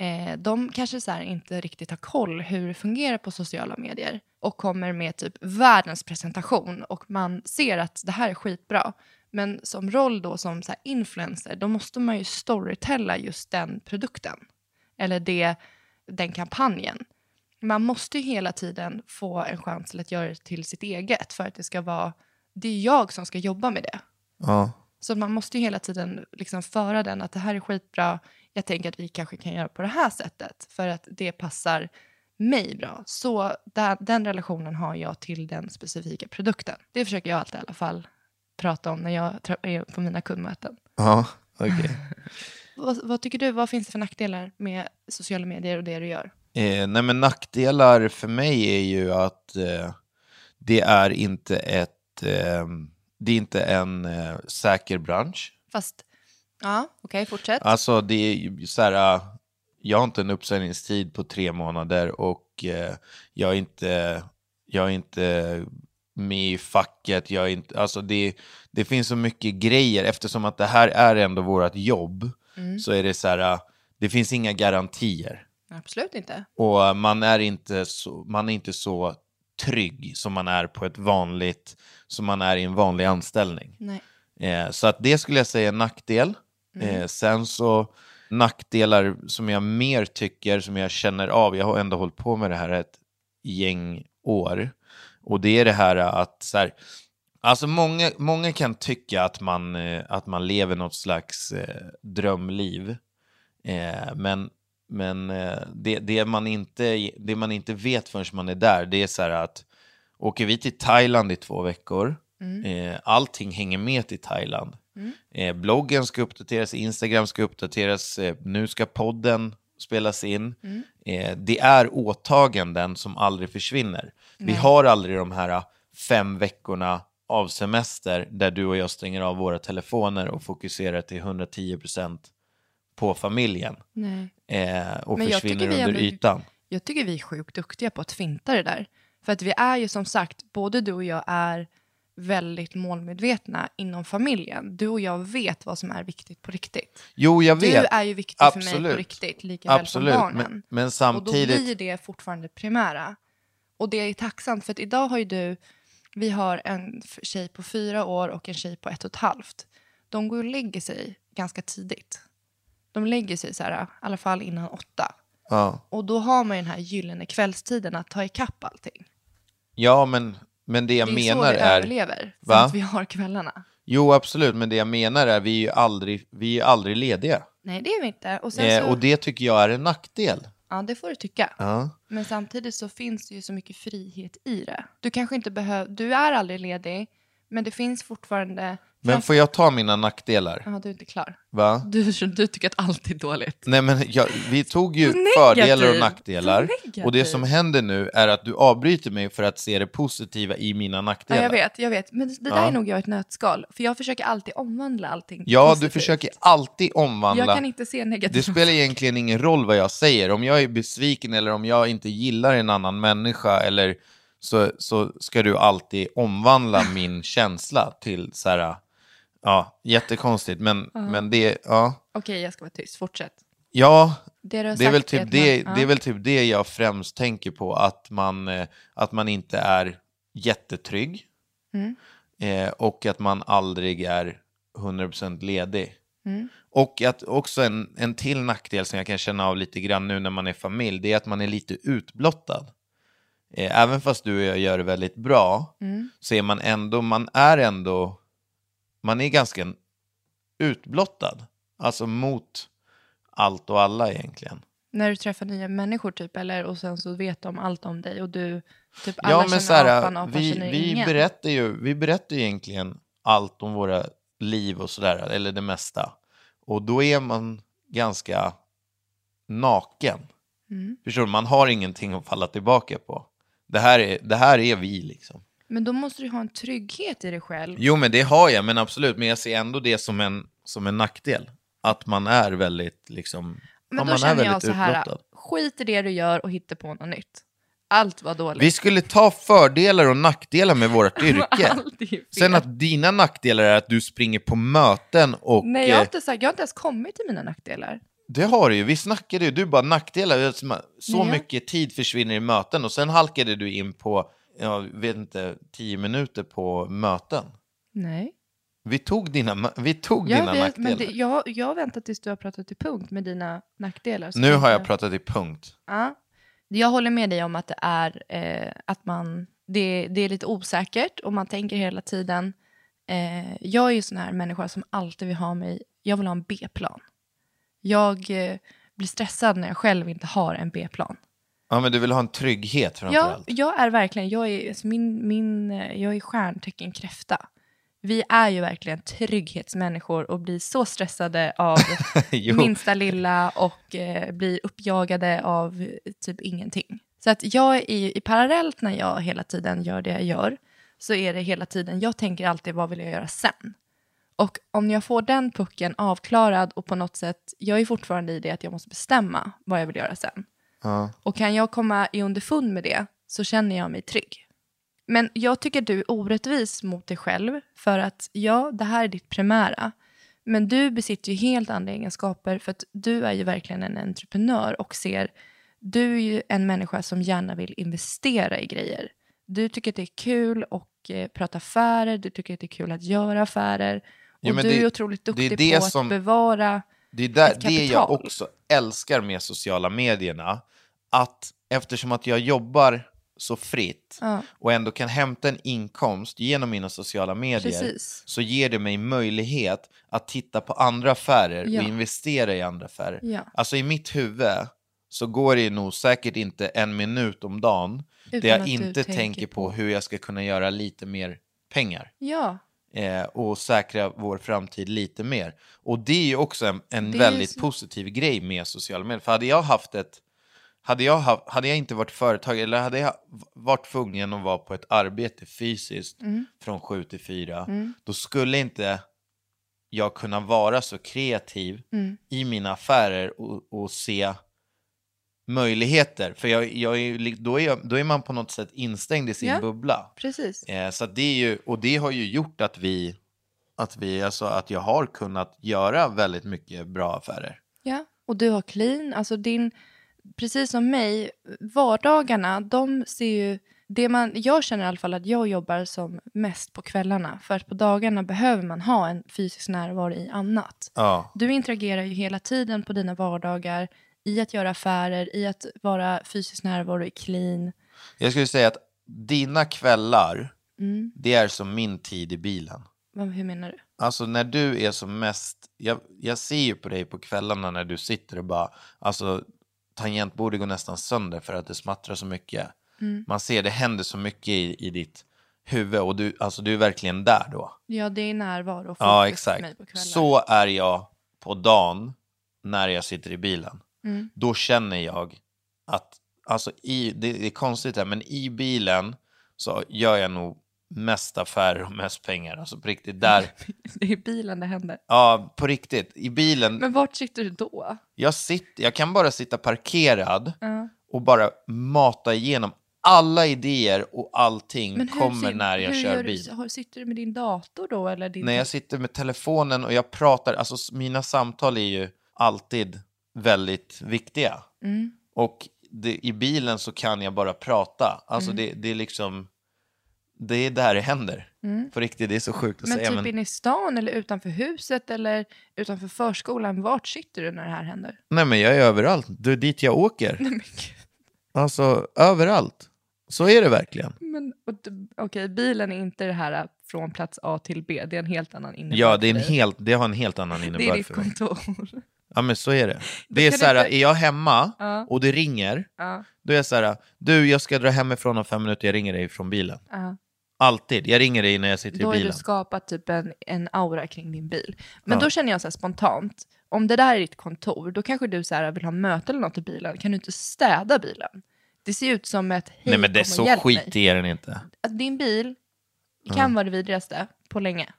[SPEAKER 4] eh, de kanske så här inte riktigt har koll hur det fungerar på sociala medier. Och kommer med typ världens presentation. Och man ser att det här är skitbra. Men som roll då som så här influencer, då måste man ju storytella just den produkten. Eller det, den kampanjen. man måste ju hela tiden få en chans till att göra det till sitt eget för att det ska vara, det är jag som ska jobba med det.
[SPEAKER 3] Ja.
[SPEAKER 4] Så man måste ju hela tiden liksom föra den att det här är skitbra, jag tänker att vi kanske kan göra på det här sättet för att det passar mig bra. Så där, den relationen har jag till den specifika produkten. Det försöker jag alltid i alla fall prata om när jag tra- är på mina kundmöten.
[SPEAKER 3] Ja, okej.
[SPEAKER 4] Vad, vad tycker du, vad finns det för nackdelar med sociala medier och det du gör?
[SPEAKER 3] Eh, nej, men nackdelar för mig är ju att eh, det är inte ett... Eh, det är inte en eh, säker bransch.
[SPEAKER 4] Fast, ja, okej, fortsätt.
[SPEAKER 3] Alltså, det är ju så här... eh, Jag har inte en uppsägningstid på tre månader och eh, jag är inte... Jag är inte med i facket, jag är inte, alltså det, det finns så mycket grejer eftersom att det här är ändå vårt jobb så är det så här, eh, det finns inga garantier.
[SPEAKER 4] Absolut inte.
[SPEAKER 3] Och eh, man är inte så, man är inte så trygg som man är på ett vanligt, som man är i en vanlig anställning.
[SPEAKER 4] Nej.
[SPEAKER 3] Eh, så att det skulle jag säga är en nackdel. Eh, sen så nackdelar som jag mer tycker, som jag känner av, jag har ändå hållit på med det här ett gäng år. Och det är det här att så här, Alltså många, många kan tycka att man, eh, att man lever något slags eh, drömliv. Eh, men men eh, det, det, man inte, det man inte vet förrän man är där, det är så här att åker vi till Thailand i två veckor, eh, allting hänger med till Thailand. Eh, bloggen ska uppdateras, Instagram ska uppdateras, eh, nu ska podden spelas in. Eh, det är åtaganden som aldrig försvinner. Vi har aldrig de här ah, fem veckorna av semester där du och jag stänger av våra telefoner och fokuserar till 110 procent på familjen
[SPEAKER 4] Nej.
[SPEAKER 3] eh, och
[SPEAKER 4] Men jag
[SPEAKER 3] försvinner
[SPEAKER 4] tycker vi
[SPEAKER 3] under
[SPEAKER 4] ändå-
[SPEAKER 3] ytan.
[SPEAKER 4] Jag tycker vi är sjukt duktiga på att finta det där. För att vi är ju som sagt, både du och jag är väldigt målmedvetna inom familjen. Du och jag vet vad som är viktigt på riktigt.
[SPEAKER 3] Jo, jag vet.
[SPEAKER 4] Du är ju viktig för mig
[SPEAKER 3] Absolut.
[SPEAKER 4] på riktigt, lika väl som
[SPEAKER 3] Absolut,
[SPEAKER 4] barnen.
[SPEAKER 3] men, men
[SPEAKER 4] Och då blir
[SPEAKER 3] samtidigt...
[SPEAKER 4] det fortfarande primära. Och det är tacksamt, för att idag har ju du... Vi har en f- tjej på fyra år och en tjej på ett och ett halvt. De går och lägger sig ganska tidigt. De lägger sig så här, i alla fall innan åtta.
[SPEAKER 3] Ja,
[SPEAKER 4] Och då har man ju den här gyllene kvällstiden att ta ikapp allting.
[SPEAKER 3] ja men, men det jag
[SPEAKER 4] det är ju så
[SPEAKER 3] menar
[SPEAKER 4] vi
[SPEAKER 3] är...
[SPEAKER 4] överlever, för
[SPEAKER 3] Va?
[SPEAKER 4] att vi har kvällarna.
[SPEAKER 3] Jo, absolut, men det jag menar är vi är ju aldrig, vi är ju aldrig lediga.
[SPEAKER 4] Nej, det är vi inte. Och, sen
[SPEAKER 3] Eh,
[SPEAKER 4] så,
[SPEAKER 3] och det tycker jag är en nackdel.
[SPEAKER 4] Ja, det får du tycka.
[SPEAKER 3] Ja.
[SPEAKER 4] Men samtidigt så finns det ju så mycket frihet i det. Du kanske inte behöver, du är aldrig ledig, men det finns fortfarande...
[SPEAKER 3] Men får jag ta mina nackdelar?
[SPEAKER 4] Ja, du är inte klar.
[SPEAKER 3] Va?
[SPEAKER 4] Du, du tycker att allt är dåligt.
[SPEAKER 3] Nej, men jag, vi tog ju
[SPEAKER 4] Så negativ.
[SPEAKER 3] fördelar och
[SPEAKER 4] Så
[SPEAKER 3] nackdelar.
[SPEAKER 4] negativ.
[SPEAKER 3] Och det som händer nu är att du avbryter mig för att se det positiva i mina
[SPEAKER 4] Ja,
[SPEAKER 3] nackdelar.
[SPEAKER 4] jag vet, jag vet. Men det det där
[SPEAKER 3] Ja.
[SPEAKER 4] är nog jag i ett nötskal. För jag försöker alltid omvandla allting till
[SPEAKER 3] Ja, du
[SPEAKER 4] positivt.
[SPEAKER 3] försöker alltid omvandla.
[SPEAKER 4] Jag kan inte se negativt.
[SPEAKER 3] Det spelar egentligen ingen roll vad jag säger. Om jag är besviken eller om jag inte gillar en annan människa eller så, så ska du alltid omvandla min känsla till så här, ja, jättekonstigt, men, men det, ja.
[SPEAKER 4] Okej, jag ska vara tyst. Fortsätt.
[SPEAKER 3] Ja,
[SPEAKER 4] Det, du har
[SPEAKER 3] det är, väl
[SPEAKER 4] sagt
[SPEAKER 3] typ
[SPEAKER 4] att
[SPEAKER 3] det,
[SPEAKER 4] man-
[SPEAKER 3] det är
[SPEAKER 4] ja.
[SPEAKER 3] väl typ det jag främst tänker på, att man, eh, att man inte är jättetrygg eh, och att man aldrig är 100% ledig. Och att också en, en till nackdel som jag kan känna av lite grann nu när man är familj, det är att man är lite utblottad. Eh, även fast du och jag gör det väldigt bra, så är man ändå, man är ändå, man är ganska utblottad. Alltså mot allt och alla egentligen.
[SPEAKER 4] När du träffar nya människor typ, eller? Och sen så vet de allt om dig och du... Typ alla
[SPEAKER 3] Ja, men så
[SPEAKER 4] känner
[SPEAKER 3] här,
[SPEAKER 4] apan, apan
[SPEAKER 3] vi,
[SPEAKER 4] känner
[SPEAKER 3] vi,
[SPEAKER 4] ingen.
[SPEAKER 3] berättar ju, vi berättar ju egentligen allt om våra liv och sådär, eller det mesta. Och då är man ganska naken.
[SPEAKER 4] Mm.
[SPEAKER 3] Förstår du? Man har ingenting att falla tillbaka på. Det här är, det här är vi liksom.
[SPEAKER 4] Men då måste du ha en trygghet i dig själv.
[SPEAKER 3] Jo, men det har jag, men absolut. Men jag ser ändå det som en, som en nackdel. Att man är väldigt liksom... ja,
[SPEAKER 4] Men då
[SPEAKER 3] man är
[SPEAKER 4] känner jag
[SPEAKER 3] väldigt
[SPEAKER 4] så här, liksom.
[SPEAKER 3] utblottad.
[SPEAKER 4] skit i det du gör och hitta på något nytt. Allt var dåligt.
[SPEAKER 3] Vi skulle ta fördelar och nackdelar med vårt yrke.
[SPEAKER 4] Allt är fel.
[SPEAKER 3] Sen att dina nackdelar är att du springer på möten och...
[SPEAKER 4] Nej, jag har,
[SPEAKER 3] eh,
[SPEAKER 4] inte sagt, jag har inte ens kommit till mina nackdelar.
[SPEAKER 3] Det har du ju. Vi snackade ju, du bara nackdelar. Det är som att Så
[SPEAKER 4] Nej.
[SPEAKER 3] mycket tid försvinner i möten och sen halkade du in på, jag vet inte, tio minuter på möten.
[SPEAKER 4] Nej.
[SPEAKER 3] Vi tog dina, ma- vi tog
[SPEAKER 4] Jag,
[SPEAKER 3] dina
[SPEAKER 4] vet,
[SPEAKER 3] nackdelar.
[SPEAKER 4] men det, jag, jag väntar tills du har pratat till punkt med dina nackdelar. så
[SPEAKER 3] Nu
[SPEAKER 4] kan
[SPEAKER 3] har jag pratat i punkt.
[SPEAKER 4] Ja. Jag håller med dig om att det är, eh, att man, det, det är lite osäkert och man tänker hela tiden. Eh, jag är ju sån här människa som alltid vill ha mig, jag vill ha en B-plan. Jag eh, blir stressad när jag själv inte har en B-plan.
[SPEAKER 3] Ja, men du vill ha en trygghet
[SPEAKER 4] Ja,
[SPEAKER 3] framförallt.
[SPEAKER 4] jag är verkligen, jag är, alltså min, min, eh, jag är stjärntecken kräfta. Vi är ju verkligen trygghetsmänniskor och blir så stressade av
[SPEAKER 3] Jo.
[SPEAKER 4] minsta lilla och eh, blir uppjagade av eh, typ ingenting. Så att jag är ju- i parallellt när jag hela tiden gör det jag gör så är det hela tiden, jag tänker alltid vad vill jag göra sen? Och om jag får den pucken avklarad och på något sätt, jag är fortfarande i det att jag måste bestämma vad jag vill göra sen. Och kan jag komma i underfund med det så känner jag mig trygg. Men jag tycker du är orättvis mot dig själv för att ja, det här är ditt primära. Men du besitter ju helt andra egenskaper för att du är ju verkligen en entreprenör och ser, du är ju en människa som gärna vill investera i grejer. Du tycker att det är kul och eh, prata affärer, du tycker att det är kul att göra affärer. Och
[SPEAKER 3] Jo, men
[SPEAKER 4] du
[SPEAKER 3] det-
[SPEAKER 4] är otroligt
[SPEAKER 3] det är
[SPEAKER 4] duktig
[SPEAKER 3] det
[SPEAKER 4] på
[SPEAKER 3] som-
[SPEAKER 4] att bevara
[SPEAKER 3] Det är där,
[SPEAKER 4] Ett
[SPEAKER 3] det jag
[SPEAKER 4] kapital.
[SPEAKER 3] också älskar med sociala medierna. Att eftersom att jag jobbar så fritt
[SPEAKER 4] Ja.
[SPEAKER 3] och ändå kan hämta en inkomst genom mina sociala medier
[SPEAKER 4] Precis.
[SPEAKER 3] så ger det mig möjlighet att titta på andra affärer
[SPEAKER 4] Ja.
[SPEAKER 3] och investera i andra affärer.
[SPEAKER 4] Ja.
[SPEAKER 3] Alltså i mitt huvud så går det nog säkert inte en minut om dagen där
[SPEAKER 4] Utan
[SPEAKER 3] jag
[SPEAKER 4] att du
[SPEAKER 3] inte
[SPEAKER 4] tänker
[SPEAKER 3] tänker på hur jag ska kunna göra lite mer pengar
[SPEAKER 4] Ja,
[SPEAKER 3] eh, och säkra vår framtid lite mer. Och det är ju också en, en
[SPEAKER 4] Det är
[SPEAKER 3] väldigt
[SPEAKER 4] så-
[SPEAKER 3] positiv grej med sociala medier. För hade jag haft ett hade jag, haft, hade jag inte varit företag eller hade jag varit tvungen att vara på ett arbete fysiskt
[SPEAKER 4] Mm.
[SPEAKER 3] från sju till fyra, då skulle inte jag kunna vara så kreativ
[SPEAKER 4] Mm.
[SPEAKER 3] i mina affärer och, och se möjligheter. För jag, jag är, ju li- då, är jag, då är man på något sätt instängd i sin
[SPEAKER 4] Ja.
[SPEAKER 3] bubbla.
[SPEAKER 4] precis.
[SPEAKER 3] Eh, så att det är ju, och det har ju gjort att vi, att vi, alltså att jag har kunnat göra väldigt mycket bra affärer.
[SPEAKER 4] Ja, och du har clean. Alltså din, precis som mig, vardagarna, de ser ju... Det man, jag känner i alla fall att jag jobbar som mest på kvällarna. För att på dagarna behöver man ha en fysisk närvaro i annat.
[SPEAKER 3] Ja.
[SPEAKER 4] Du interagerar ju hela tiden på dina vardagar i att göra affärer, i att vara fysiskt närvaro i clean.
[SPEAKER 3] Jag skulle säga att dina kvällar, det är som min tid i bilen.
[SPEAKER 4] Vad, hur menar du?
[SPEAKER 3] Alltså när du är som mest, jag, jag ser ju på dig på kvällarna när du sitter och bara, alltså tangentbordet går nästan sönder för att det smattrar så mycket. Man ser det händer så mycket i, i ditt huvud och du, alltså du är verkligen där då.
[SPEAKER 4] Ja, det är närvaro och fokus
[SPEAKER 3] Ja,
[SPEAKER 4] för mig
[SPEAKER 3] exakt.
[SPEAKER 4] på kvällar.
[SPEAKER 3] Så är jag på dagen när jag sitter i bilen.
[SPEAKER 4] Mm.
[SPEAKER 3] Då känner jag att, alltså i, det, det är konstigt här, men i bilen så gör jag nog mest affärer och mest pengar. Alltså på riktigt, där,
[SPEAKER 4] Det är i bilen det händer.
[SPEAKER 3] ja på riktigt, i bilen,
[SPEAKER 4] Men vart sitter du då?
[SPEAKER 3] jag, sitter, jag kan bara sitta parkerad och bara mata igenom alla idéer och allting
[SPEAKER 4] Men hur
[SPEAKER 3] kommer
[SPEAKER 4] sit-
[SPEAKER 3] när jag
[SPEAKER 4] hur
[SPEAKER 3] kör
[SPEAKER 4] gör
[SPEAKER 3] bil.
[SPEAKER 4] Du, har- sitter du med din dator då? Eller din
[SPEAKER 3] när jag sitter med telefonen och jag pratar, alltså s- mina samtal är ju alltid väldigt viktiga.
[SPEAKER 4] Mm.
[SPEAKER 3] Och det, i bilen så kan jag bara prata. Alltså
[SPEAKER 4] Mm.
[SPEAKER 3] det, det är liksom, det är där det händer. På riktigt, det är så sjukt att
[SPEAKER 4] Mm. men
[SPEAKER 3] säga.
[SPEAKER 4] typ
[SPEAKER 3] men,
[SPEAKER 4] inne i stan eller utanför huset eller utanför förskolan, vart sitter du när det här händer?
[SPEAKER 3] Nej men jag är överallt, det är dit jag åker.
[SPEAKER 4] Men gud,
[SPEAKER 3] Alltså överallt. Så är det verkligen.
[SPEAKER 4] Men, och du- Okej, bilen är inte det här äh, från plats A till B, det är en helt annan innebörd
[SPEAKER 3] Ja, det, är en
[SPEAKER 4] för dig.
[SPEAKER 3] helt, det har en helt annan innebörd
[SPEAKER 4] Det är ditt
[SPEAKER 3] för mig.
[SPEAKER 4] kontor.
[SPEAKER 3] Ja men så är det. Det är
[SPEAKER 4] kan
[SPEAKER 3] så här,
[SPEAKER 4] du inte-
[SPEAKER 3] är jag hemma
[SPEAKER 4] Ja.
[SPEAKER 3] och det ringer,
[SPEAKER 4] Ja,
[SPEAKER 3] då är jag så här, du jag ska dra hemifrån om fem minuter, jag ringer dig från bilen.
[SPEAKER 4] ja.
[SPEAKER 3] Alltid. Jag ringer dig när jag sitter
[SPEAKER 4] Då
[SPEAKER 3] i
[SPEAKER 4] har du
[SPEAKER 3] bilen.
[SPEAKER 4] skapat typ en, en aura kring din bil. Men då känner jag så här spontant, om det där är ditt kontor, då kanske du så här vill ha möte eller något i bilen, kan du inte städa bilen? Det ser ut som ett hej,
[SPEAKER 3] Nej men det är
[SPEAKER 4] kom och
[SPEAKER 3] så
[SPEAKER 4] hjälp mig.
[SPEAKER 3] skitig är den inte.
[SPEAKER 4] att Alltså, din bil kan vara det vidrigaste på länge.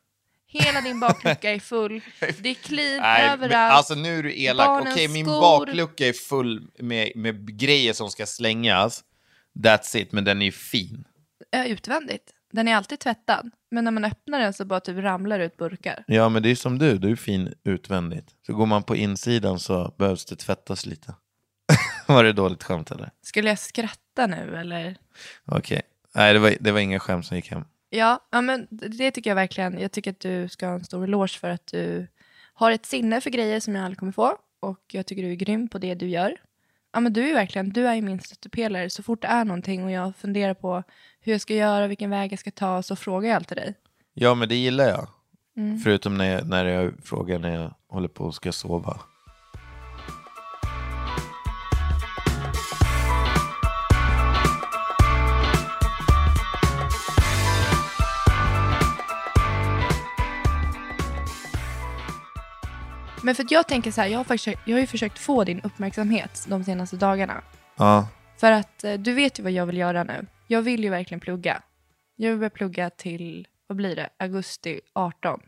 [SPEAKER 4] Hela din baklucka är full, det är clean
[SPEAKER 3] men,
[SPEAKER 4] överallt.
[SPEAKER 3] alltså nu är du elak.
[SPEAKER 4] Barnens
[SPEAKER 3] Okej, min
[SPEAKER 4] skor.
[SPEAKER 3] baklucka är full med, med grejer som ska slängas. That's it, men den är ju fin.
[SPEAKER 4] Ö, Utvändigt. Den är alltid tvättad, men när man öppnar den så bara typ ramlar ut burkar.
[SPEAKER 3] Ja, men det är som du. Du är fin utvändigt. Så går man på insidan så behövs det tvättas lite. var det dåligt skämt eller?
[SPEAKER 4] Skulle jag skratta nu eller?
[SPEAKER 3] Okej. Nej, det var, det var inga skämt som gick hem.
[SPEAKER 4] Ja, ja men det tycker jag verkligen. Jag tycker att du ska ha en stor eloge för att du har ett sinne för grejer som jag aldrig kommer få. Och jag tycker du är grym på det du gör. ja, men du är ju verkligen du är ju min stöttepelare. Så fort det är någonting och jag funderar på hur jag ska göra, vilken väg jag ska ta, så frågar jag alltid dig.
[SPEAKER 3] Ja, men det gillar jag.
[SPEAKER 4] Mm.
[SPEAKER 3] Förutom när jag, när jag frågar när jag håller på och ska sova.
[SPEAKER 4] Men för att jag tänker så här, jag har, faktiskt, jag har ju försökt få din uppmärksamhet de senaste dagarna.
[SPEAKER 3] Ja,
[SPEAKER 4] För att eh, du vet ju vad jag vill göra nu. Jag vill ju verkligen plugga. Jag vill börja plugga till, vad blir det, augusti 18.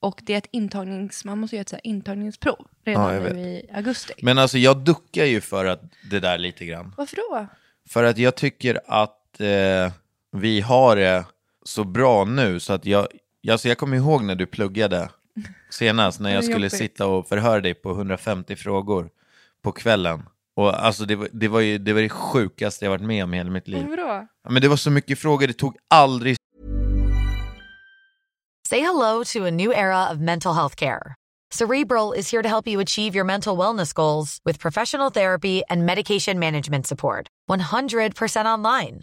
[SPEAKER 4] Och det är ett intagnings, man måste göra ett så här intagningsprov redan
[SPEAKER 3] Ja, jag
[SPEAKER 4] nu i augusti.
[SPEAKER 3] men alltså jag duckar ju för att det där lite grann.
[SPEAKER 4] Varför då?
[SPEAKER 3] För att jag tycker att eh, vi har det så bra nu så att jag, alltså jag kommer ihåg när du pluggade senast när
[SPEAKER 4] Det är
[SPEAKER 3] jag skulle
[SPEAKER 4] jobbigt.
[SPEAKER 3] sitta och förhöra dig på 150 frågor på kvällen. Och alltså det, var- det var ju det, var det sjukaste jag varit med om i hela mitt liv.
[SPEAKER 4] Varför då?
[SPEAKER 3] Ja, Men det var så mycket frågor, det tog aldrig
[SPEAKER 6] Say hello to a new era of mental health care. Cerebral is here to help you achieve your mental wellness goals with professional therapy and medication management support. 100% online.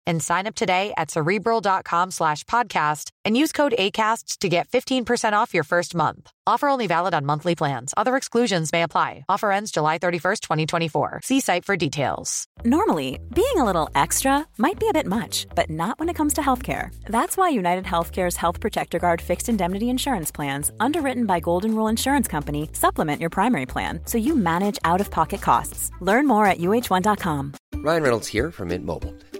[SPEAKER 6] and sign up today at cerebral.com slash podcast and use code ACAST to get 15% off your first month. Offer only valid on monthly plans. Other exclusions may apply. Offer ends July 31st, 2024. See site for details.
[SPEAKER 7] Normally, being a little extra might be a bit much, but not when it comes to healthcare. That's why United Healthcare's Health Protector Guard fixed indemnity insurance plans, underwritten by Golden Rule Insurance Company, supplement your primary plan so you manage out of pocket costs. Learn more at uh1.com.
[SPEAKER 1] Ryan Reynolds here from Mint Mobile.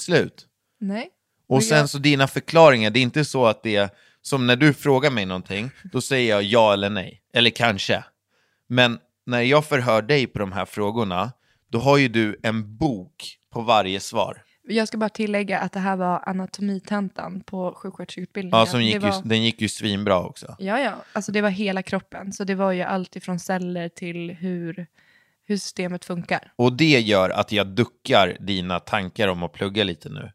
[SPEAKER 3] slut.
[SPEAKER 4] Nej.
[SPEAKER 3] Och
[SPEAKER 4] Men
[SPEAKER 3] sen
[SPEAKER 4] jag-
[SPEAKER 3] så dina förklaringar, det är inte så att det är som när du frågar mig någonting, då säger jag ja eller nej, eller kanske. Men när jag förhör dig på de här frågorna, då har ju du en bok på varje svar.
[SPEAKER 4] Jag ska bara tillägga att det här var anatomitantan på sjuksköterskeutbildningen.
[SPEAKER 3] Ja, som gick
[SPEAKER 4] det var,
[SPEAKER 3] ju, den gick ju svinbra också.
[SPEAKER 4] Ja, ja. Alltså det var hela kroppen. Så det var ju allt ifrån celler till hur, hur systemet funkar.
[SPEAKER 3] Och det gör att jag duckar dina tankar om att plugga lite nu.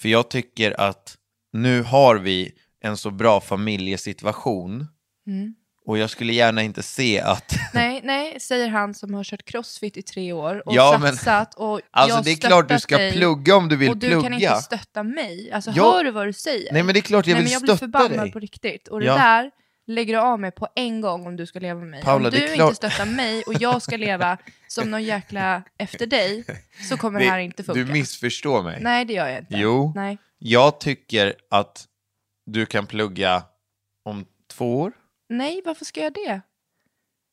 [SPEAKER 3] För jag tycker att nu har vi en så bra familjesituation
[SPEAKER 4] Mm.
[SPEAKER 3] och jag skulle gärna inte se att
[SPEAKER 4] Nej, nej, säger han som har kört crossfit i tre år och
[SPEAKER 3] Ja, men-
[SPEAKER 4] satsat. Och
[SPEAKER 3] Alltså
[SPEAKER 4] jag
[SPEAKER 3] det är klart du
[SPEAKER 4] stöttat
[SPEAKER 3] ska
[SPEAKER 4] dig,
[SPEAKER 3] plugga om du vill
[SPEAKER 4] Och du
[SPEAKER 3] plugga.
[SPEAKER 4] kan inte stötta mig. Alltså
[SPEAKER 3] Jag-
[SPEAKER 4] hör du vad du säger?
[SPEAKER 3] Nej men det är klart jag
[SPEAKER 4] Nej,
[SPEAKER 3] vill
[SPEAKER 4] men jag blir
[SPEAKER 3] stötta
[SPEAKER 4] förbannad
[SPEAKER 3] dig.
[SPEAKER 4] på riktigt. Och
[SPEAKER 3] Ja.
[SPEAKER 4] det där lägger du av mig på en gång om du ska leva med mig.
[SPEAKER 3] Paula,
[SPEAKER 4] om
[SPEAKER 3] det är
[SPEAKER 4] du
[SPEAKER 3] klart-
[SPEAKER 4] inte stöttar mig och jag ska leva som någon jäkla efter dig så kommer det, här inte funka.
[SPEAKER 3] du missförstår mig.
[SPEAKER 4] Nej, det gör jag inte.
[SPEAKER 3] Jo.
[SPEAKER 4] Nej.
[SPEAKER 3] Jag tycker att du kan plugga om två år.
[SPEAKER 4] Nej, varför ska jag det?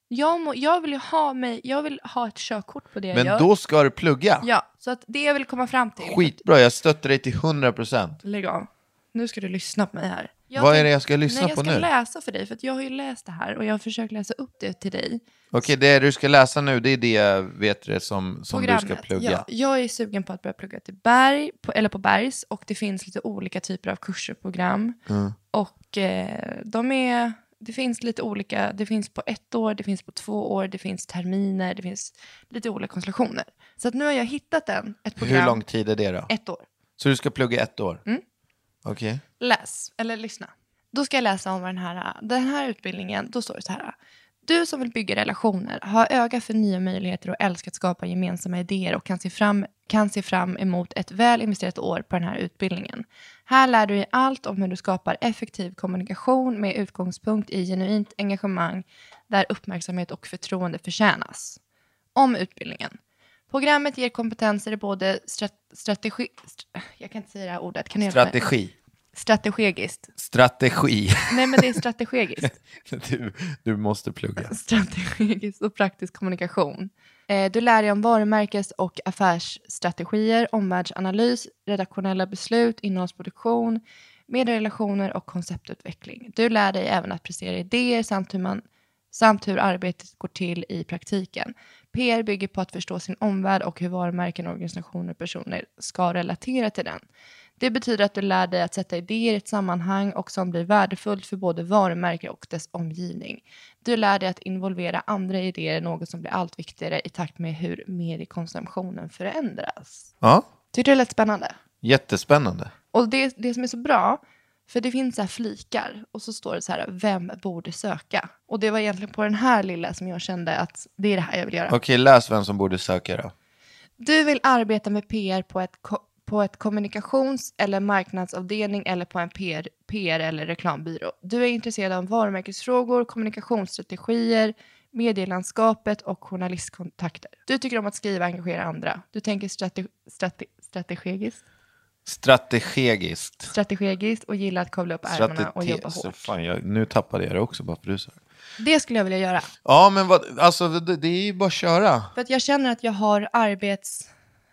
[SPEAKER 4] Jag, må, jag, vill ju ha mig, jag vill ha ett körkort på det jag
[SPEAKER 3] Men
[SPEAKER 4] gör.
[SPEAKER 3] då ska du plugga.
[SPEAKER 4] Ja, så att det jag vill komma fram till.
[SPEAKER 3] Skitbra, jag stöttar dig till 100 procent.
[SPEAKER 4] Lägg av. Nu ska du lyssna på mig här. Jag
[SPEAKER 3] Vad är
[SPEAKER 4] tänk-
[SPEAKER 3] det jag ska lyssna
[SPEAKER 4] Nej,
[SPEAKER 3] på nu?
[SPEAKER 4] Jag ska läsa för dig, för att jag har ju läst det här och jag har försökt läsa upp det till dig.
[SPEAKER 3] Okej, det du ska läsa nu, det är det vet du, som, som du ska
[SPEAKER 4] programmet.
[SPEAKER 3] plugga.
[SPEAKER 4] Ja, jag är sugen på att börja plugga till Berg, på, eller på Bergs och det finns lite olika typer av kurser och program.
[SPEAKER 3] Mm.
[SPEAKER 4] Och eh, de är, det finns lite olika, det finns på ett år, det finns på två år, det finns terminer, det finns lite olika konstellationer. Så att nu har jag hittat en, ett program,
[SPEAKER 3] Hur lång tid är det då?
[SPEAKER 4] ett år.
[SPEAKER 3] Så du ska plugga ett år?
[SPEAKER 4] Mm.
[SPEAKER 3] Okej.
[SPEAKER 4] Läs, eller lyssna. Då ska jag läsa om vad den här, den här utbildningen, då står det så här. Du som vill bygga relationer, ha öga för nya möjligheter och älskar att skapa gemensamma idéer och kan se, fram, kan se fram emot ett väl investerat år på den här utbildningen. Här lär du dig allt om hur du skapar effektiv kommunikation med utgångspunkt i genuint engagemang där uppmärksamhet och förtroende förtjänas. om utbildningen. Programmet ger kompetenser i både stra- strategi... St- jag kan inte säga det här ordet. Kan ni hjälpa mig?
[SPEAKER 3] Strategi.
[SPEAKER 4] Strategiskt.
[SPEAKER 3] Strategi.
[SPEAKER 4] Nej, men det är strategiskt.
[SPEAKER 3] Du, du måste plugga.
[SPEAKER 4] strategisk och praktisk kommunikation. Eh, Du lär dig om varumärkes och affärsstrategier, omvärldsanalys, redaktionella beslut, innehållsproduktion, medierelationer och konceptutveckling. Du lär dig även att prestera idéer samt hur, man, samt hur arbetet går till i praktiken. PR bygger på att förstå sin omvärld och hur varumärken, organisationer och personer ska relatera till den. Det betyder att du lär dig att sätta idéer i ett sammanhang och som blir värdefullt för både varumärke och dess omgivning. Du lär dig att involvera andra idéer, något som blir allt viktigare i takt med hur mediekonsumtionen förändras.
[SPEAKER 3] Ja,
[SPEAKER 4] Tyckte du det lät spännande?
[SPEAKER 3] jättespännande.
[SPEAKER 4] Och det, det som är så bra, för det finns så här flikar och så står det så här, vem borde söka? Och det var egentligen på den här lilla som jag kände att det är det här jag vill göra.
[SPEAKER 3] Okej, läs vem som borde söka då.
[SPEAKER 4] Du vill arbeta med PR på ett, ko- på ett kommunikations eller marknadsavdelning eller på en PR, PR eller reklambyrå. Du är intresserad av varumärkesfrågor, kommunikationsstrategier, medielandskapet och journalistkontakter. Du tycker om att skriva och engagera andra. Du tänker strate, strate, strategiskt,
[SPEAKER 3] Strategiskt.
[SPEAKER 4] strategiskt och gillar att kavla upp ärmarna och
[SPEAKER 3] Stratete-
[SPEAKER 4] jobba
[SPEAKER 3] så
[SPEAKER 4] hårt.
[SPEAKER 3] Fan, jag, nu tappade jag det också bara för du sa det.
[SPEAKER 4] Det skulle jag vilja göra.
[SPEAKER 3] Ja, men vad, alltså det, det är ju bara att köra.
[SPEAKER 4] För att jag känner att jag har arbets...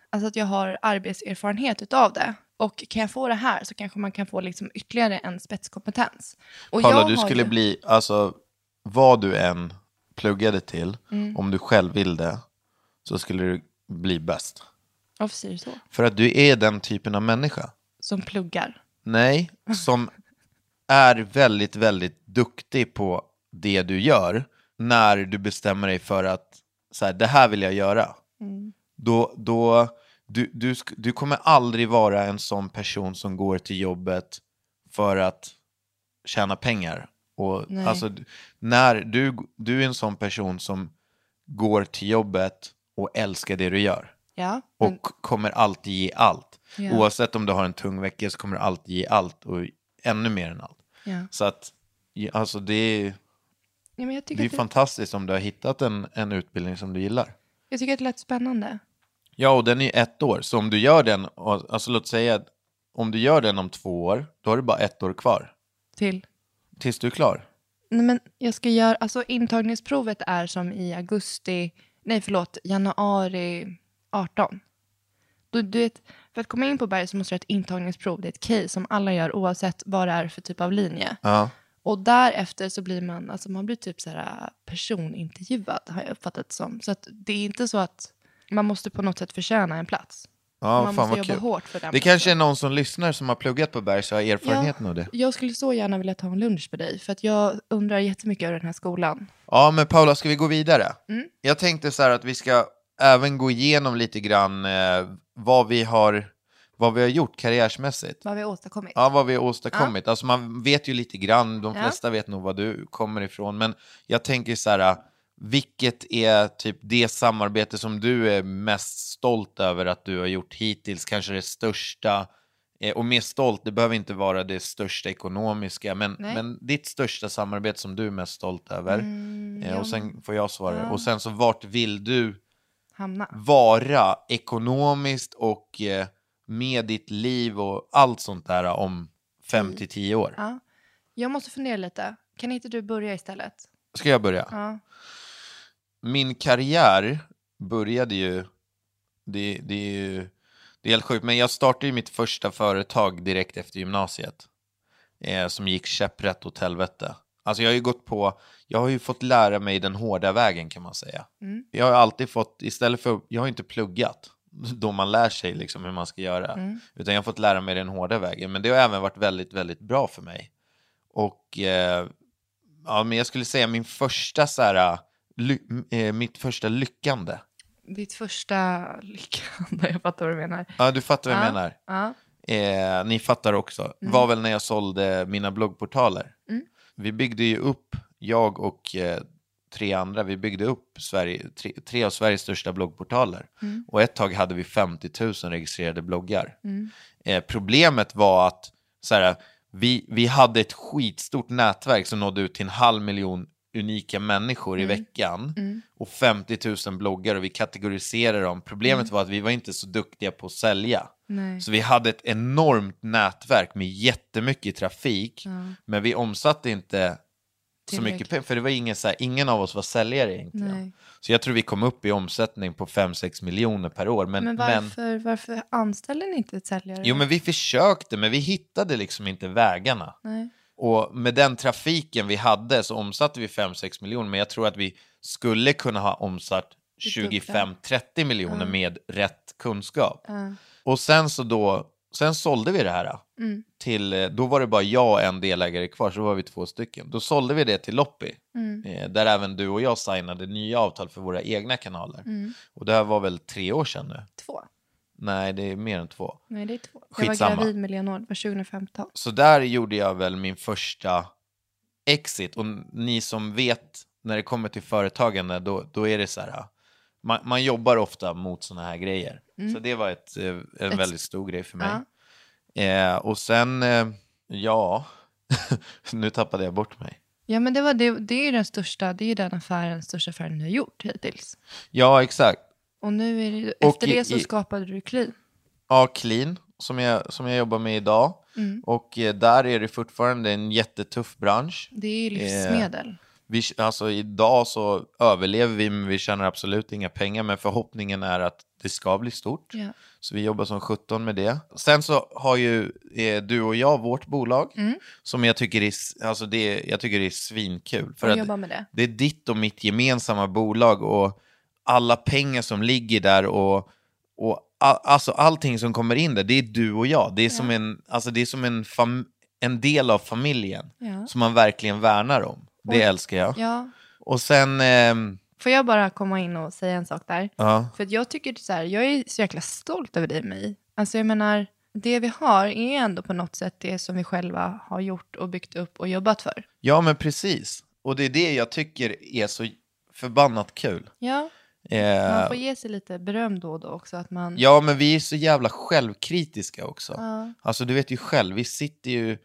[SPEAKER 4] Alltså att jag har arbetserfarenhet utav det. Och kan jag få det här så kanske man kan få liksom ytterligare en spetskompetens. Och
[SPEAKER 3] Paula,
[SPEAKER 4] jag
[SPEAKER 3] du
[SPEAKER 4] har
[SPEAKER 3] skulle
[SPEAKER 4] ju-
[SPEAKER 3] bli, alltså vad du än pluggade till,
[SPEAKER 4] Mm.
[SPEAKER 3] om du själv vill det, så skulle du bli bäst.
[SPEAKER 4] Varför säger du så?
[SPEAKER 3] För att du är den typen av människa.
[SPEAKER 4] Som pluggar.
[SPEAKER 3] Nej, som är väldigt, väldigt duktig på det du gör när du bestämmer dig för att så här, det här vill jag göra. Då, då, du, du, sk- du kommer aldrig vara en sån person som går till jobbet för att tjäna pengar. Och,
[SPEAKER 4] Nej.
[SPEAKER 3] alltså, d- när du, du är en sån person som går till jobbet och älskar det du gör
[SPEAKER 4] Ja.
[SPEAKER 3] och
[SPEAKER 4] men-
[SPEAKER 3] kommer alltid ge allt.
[SPEAKER 4] Ja.
[SPEAKER 3] Oavsett om du har en tung vecka så kommer du alltid ge allt och ännu mer än allt.
[SPEAKER 4] ja.
[SPEAKER 3] Så att, ja, alltså det är,
[SPEAKER 4] ja men jag, tycker
[SPEAKER 3] det är
[SPEAKER 4] att det,
[SPEAKER 3] fantastiskt om du har hittat en, en utbildning som du gillar.
[SPEAKER 4] jag tycker att det lät spännande.
[SPEAKER 3] Ja, och den är ju ett år, så om du gör den, och- alltså låt säga att om du gör den om två år, då har du bara ett år kvar.
[SPEAKER 4] Till.
[SPEAKER 3] Tills du är klar.
[SPEAKER 4] Nej men jag ska göra... Alltså intagningsprovet är som i augusti... Nej förlåt, januari 18. Du, du vet, för att komma in på Berg så måste du ha ett intagningsprov. Det är ett case som alla gör oavsett vad det är för typ av linje.
[SPEAKER 3] Ja.
[SPEAKER 4] Och därefter så blir man, alltså man blir typ så här personintervjuad har jag uppfattat det som. Så att det är inte så att man måste på något sätt förtjäna en plats.
[SPEAKER 3] Ja,
[SPEAKER 4] man
[SPEAKER 3] fan
[SPEAKER 4] måste
[SPEAKER 3] vad
[SPEAKER 4] jobba
[SPEAKER 3] kul.
[SPEAKER 4] hårt för den
[SPEAKER 3] Det kanske är
[SPEAKER 4] platsen.
[SPEAKER 3] någon som lyssnar som har pluggat på Bergs och har erfarenheten av det.
[SPEAKER 4] Jag skulle så gärna vilja ta en lunch med dig för att jag undrar jättemycket över den här skolan.
[SPEAKER 3] Ja, men Paula, ska vi gå vidare?
[SPEAKER 4] Mm.
[SPEAKER 3] Jag tänkte så här att vi ska även gå igenom lite grann eh, vad, vi har, vad vi har gjort karriärsmässigt.
[SPEAKER 4] Vad vi har åstadkommit.
[SPEAKER 3] Ja, vad vi har åstadkommit. Alltså man vet ju lite grann, de flesta vet nog var du kommer ifrån. Men jag tänker så här, äh, vilket är typ det samarbete som du är mest stolt över att du har gjort hittills? Kanske det största, eh, och med stolt, det behöver inte vara det största ekonomiska, men,
[SPEAKER 4] Nej.
[SPEAKER 3] men ditt största samarbete som du är mest stolt över. Eh,
[SPEAKER 4] Mm, ja.
[SPEAKER 3] Och sen får jag svara. Och sen så vart vill du
[SPEAKER 4] Hamna.
[SPEAKER 3] vara ekonomiskt och eh, med ditt liv och allt sånt där om 5-10 år?
[SPEAKER 4] Ja. Jag måste fundera lite. Kan inte du börja istället?
[SPEAKER 3] Ska jag börja?
[SPEAKER 4] Ja.
[SPEAKER 3] Min karriär började ju, det, det är ju det är helt sjukt, men jag startade ju mitt första företag direkt efter gymnasiet. Eh, som gick käpprätt åt helvete. Alltså jag har ju gått på, jag har ju fått lära mig den hårda vägen kan man säga. Jag har alltid fått, istället för, jag har inte pluggat då man lär sig liksom hur man ska göra. Utan jag har fått lära mig den hårda vägen. Men det har även varit väldigt, väldigt bra för mig. Och eh, ja, men jag skulle säga min första så här, äh, ly- eh, mitt första lyckande.
[SPEAKER 4] Ditt första lyckande, jag fattar vad du menar.
[SPEAKER 3] Ja, du fattar vad jag
[SPEAKER 4] Ja.
[SPEAKER 3] menar.
[SPEAKER 4] Ja. Mm.
[SPEAKER 3] eh, ni fattar också, var väl när jag sålde mina bloggportaler. Vi byggde ju upp, jag och eh, tre andra, vi byggde upp Sverige, tre, tre av Sveriges största bloggportaler.
[SPEAKER 4] Mm.
[SPEAKER 3] Och ett tag hade vi 50 000 registrerade bloggar. Eh, problemet var att så här, vi, vi hade ett skitstort nätverk som nådde ut till en halv miljon unika människor
[SPEAKER 4] Mm.
[SPEAKER 3] i veckan och 50 000 bloggar och vi kategoriserade dem. Problemet var att vi var inte så duktiga på att sälja.
[SPEAKER 4] Mm. Nej.
[SPEAKER 3] Så vi hade ett enormt nätverk med jättemycket trafik, men vi omsatte inte så mycket
[SPEAKER 4] Tillräckligt.
[SPEAKER 3] pengar, för det var ingen, så här, ingen av oss var säljare egentligen.
[SPEAKER 4] Nej.
[SPEAKER 3] Så jag tror vi kom upp i omsättning på 5-6 miljoner per år. Men,
[SPEAKER 4] Men
[SPEAKER 3] men,
[SPEAKER 4] varför, varför anställer ni inte ett säljare?
[SPEAKER 3] jo, men vi försökte, men vi hittade liksom inte vägarna.
[SPEAKER 4] Nej.
[SPEAKER 3] Och med den trafiken vi hade så omsatte vi 5-6 miljoner, men jag tror att vi skulle kunna ha omsatt
[SPEAKER 4] Det dubbla.
[SPEAKER 3] 25-30 miljoner med rätt kunskap.
[SPEAKER 4] Ja.
[SPEAKER 3] Och sen så då, sen sålde vi det här.
[SPEAKER 4] Mm.
[SPEAKER 3] Till, eh, då var det bara jag och en delägare kvar, så då var vi två stycken. Då sålde vi det till Loppy,
[SPEAKER 4] Mm.
[SPEAKER 3] eh, där även du och jag signade nya avtal för våra egna kanaler.
[SPEAKER 4] Mm.
[SPEAKER 3] Och det här var väl tre år sedan nu?
[SPEAKER 4] Två.
[SPEAKER 3] Nej, det är mer än två.
[SPEAKER 4] Nej, det är två.
[SPEAKER 3] Skitsamma.
[SPEAKER 4] Jag var gravid med Leonor, det var 2015.
[SPEAKER 3] Så där gjorde jag väl min första exit. Och ni som vet, när det kommer till företagande, då, då är det så här. Man, man jobbar ofta mot sådana här grejer. Så det var ett, eh, en väldigt stor grej för mig. Eh, och sen, eh, ja, nu tappade jag bort mig.
[SPEAKER 4] Ja, men det, var det, det är ju den största, det är ju den affären, största affären du har gjort hittills.
[SPEAKER 3] Ja, exakt.
[SPEAKER 4] Och nu är det,
[SPEAKER 3] Och
[SPEAKER 4] efter
[SPEAKER 3] i-
[SPEAKER 4] det så
[SPEAKER 3] i-
[SPEAKER 4] skapade du Clean.
[SPEAKER 3] Ja, Clean, som jag, som jag jobbar med idag. Och eh, där är det fortfarande en jättetuff bransch.
[SPEAKER 4] Det är ju livsmedel.
[SPEAKER 3] Vi, alltså idag så överlever vi, men vi tjänar absolut inga pengar. Men förhoppningen är att det ska bli stort.
[SPEAKER 4] Ja.
[SPEAKER 3] Så vi jobbar som 17 med det. Sen så har ju eh, du och jag vårt bolag. Som jag tycker är, s- alltså det, är- jag tycker det är svinkul. För
[SPEAKER 4] Och
[SPEAKER 3] att
[SPEAKER 4] jobba med det.
[SPEAKER 3] det är ditt och mitt gemensamma bolag. Och alla pengar som ligger där och, och a, alltså allting som kommer in där, det är du och jag. Det är som, en, alltså det är som en, fam, en del av familjen.
[SPEAKER 4] Ja.
[SPEAKER 3] Som man verkligen värnar om. Det älskar jag.
[SPEAKER 4] Ja.
[SPEAKER 3] Och sen, ehm,
[SPEAKER 4] Får jag bara komma in och säga en sak där?
[SPEAKER 3] ja,
[SPEAKER 4] För att jag tycker så här, jag är så jäkla stolt över dig och mig. Alltså jag menar, det vi har är ändå på något sätt det som vi själva har gjort och byggt upp och jobbat för.
[SPEAKER 3] ja men precis. Och det är det jag tycker är så förbannat kul.
[SPEAKER 4] Ja, man
[SPEAKER 3] Eh,
[SPEAKER 4] får ge sig lite beröm då och då också att man...
[SPEAKER 3] ja men vi är så jävla självkritiska också. Alltså du vet ju själv, vi sitter ju...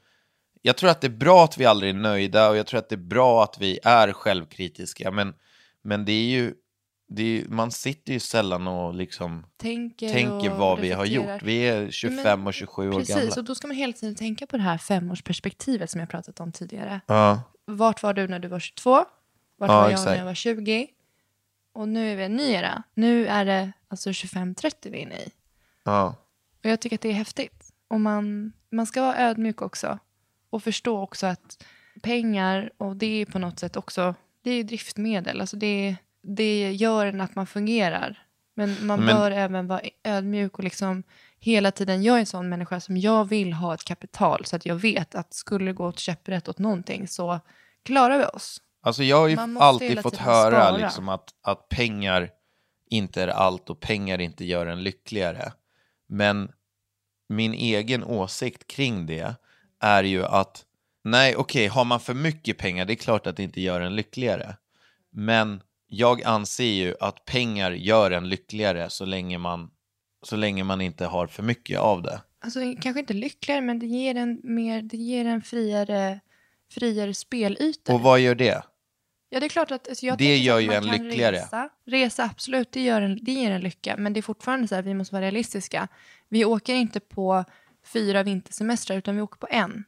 [SPEAKER 3] Jag tror att det är bra att vi aldrig är nöjda och jag tror att det är bra att vi är självkritiska. Men, men det är ju... Det är, ju- man sitter ju sällan och liksom
[SPEAKER 4] tänker,
[SPEAKER 3] tänker
[SPEAKER 4] och
[SPEAKER 3] vad vi har
[SPEAKER 4] reflekterar.
[SPEAKER 3] gjort. Vi är
[SPEAKER 4] Ja, men
[SPEAKER 3] 25 och 27 år
[SPEAKER 4] Precis,
[SPEAKER 3] gamla.
[SPEAKER 4] och då ska man hela tiden tänka på det här femårsperspektivet som jag pratat om tidigare.
[SPEAKER 3] Ja,
[SPEAKER 4] Vart var du när du var 22? Vart
[SPEAKER 3] Ja,
[SPEAKER 4] var jag
[SPEAKER 3] exakt.
[SPEAKER 4] när jag var 20? Och nu är vi en ny era. Nu är det alltså 25-30 vi är inne i.
[SPEAKER 3] ja.
[SPEAKER 4] Och jag tycker att det är häftigt. Och man, man ska vara ödmjuk också. Och förstå också att pengar, och det är på något sätt också, det är ju driftmedel. Alltså det, det gör en att man fungerar. Men man
[SPEAKER 3] Men-
[SPEAKER 4] bör även vara ödmjuk och liksom hela tiden, jag är en sån människa som jag vill ha ett kapital så att jag vet att skulle det gå åt käpprätt åt någonting så klarar vi oss.
[SPEAKER 3] Alltså jag har ju
[SPEAKER 4] Man måste
[SPEAKER 3] alltid
[SPEAKER 4] hela
[SPEAKER 3] fått
[SPEAKER 4] tiden
[SPEAKER 3] höra
[SPEAKER 4] spara.
[SPEAKER 3] liksom att, att pengar inte är allt och pengar inte gör en lyckligare. Men min egen åsikt kring det är ju att nej, okej, har man för mycket pengar, det är klart att det inte gör en lyckligare. Men jag anser ju att pengar gör en lyckligare så länge man, så länge man inte har för mycket av det.
[SPEAKER 4] Alltså kanske inte lyckligare men det ger en, mer, det ger en friare, friare spelyta.
[SPEAKER 3] Och vad gör det?
[SPEAKER 4] Ja, det är klart att alltså, jag
[SPEAKER 3] Det
[SPEAKER 4] tänker
[SPEAKER 3] gör
[SPEAKER 4] att
[SPEAKER 3] ju
[SPEAKER 4] man
[SPEAKER 3] en
[SPEAKER 4] kan
[SPEAKER 3] lyckligare.
[SPEAKER 4] Resa. resa, absolut, det, gör en, det ger en lycka. Men det är fortfarande så här, vi måste vara realistiska. Vi åker inte på fyra vintersemestrar, utan vi åker på en.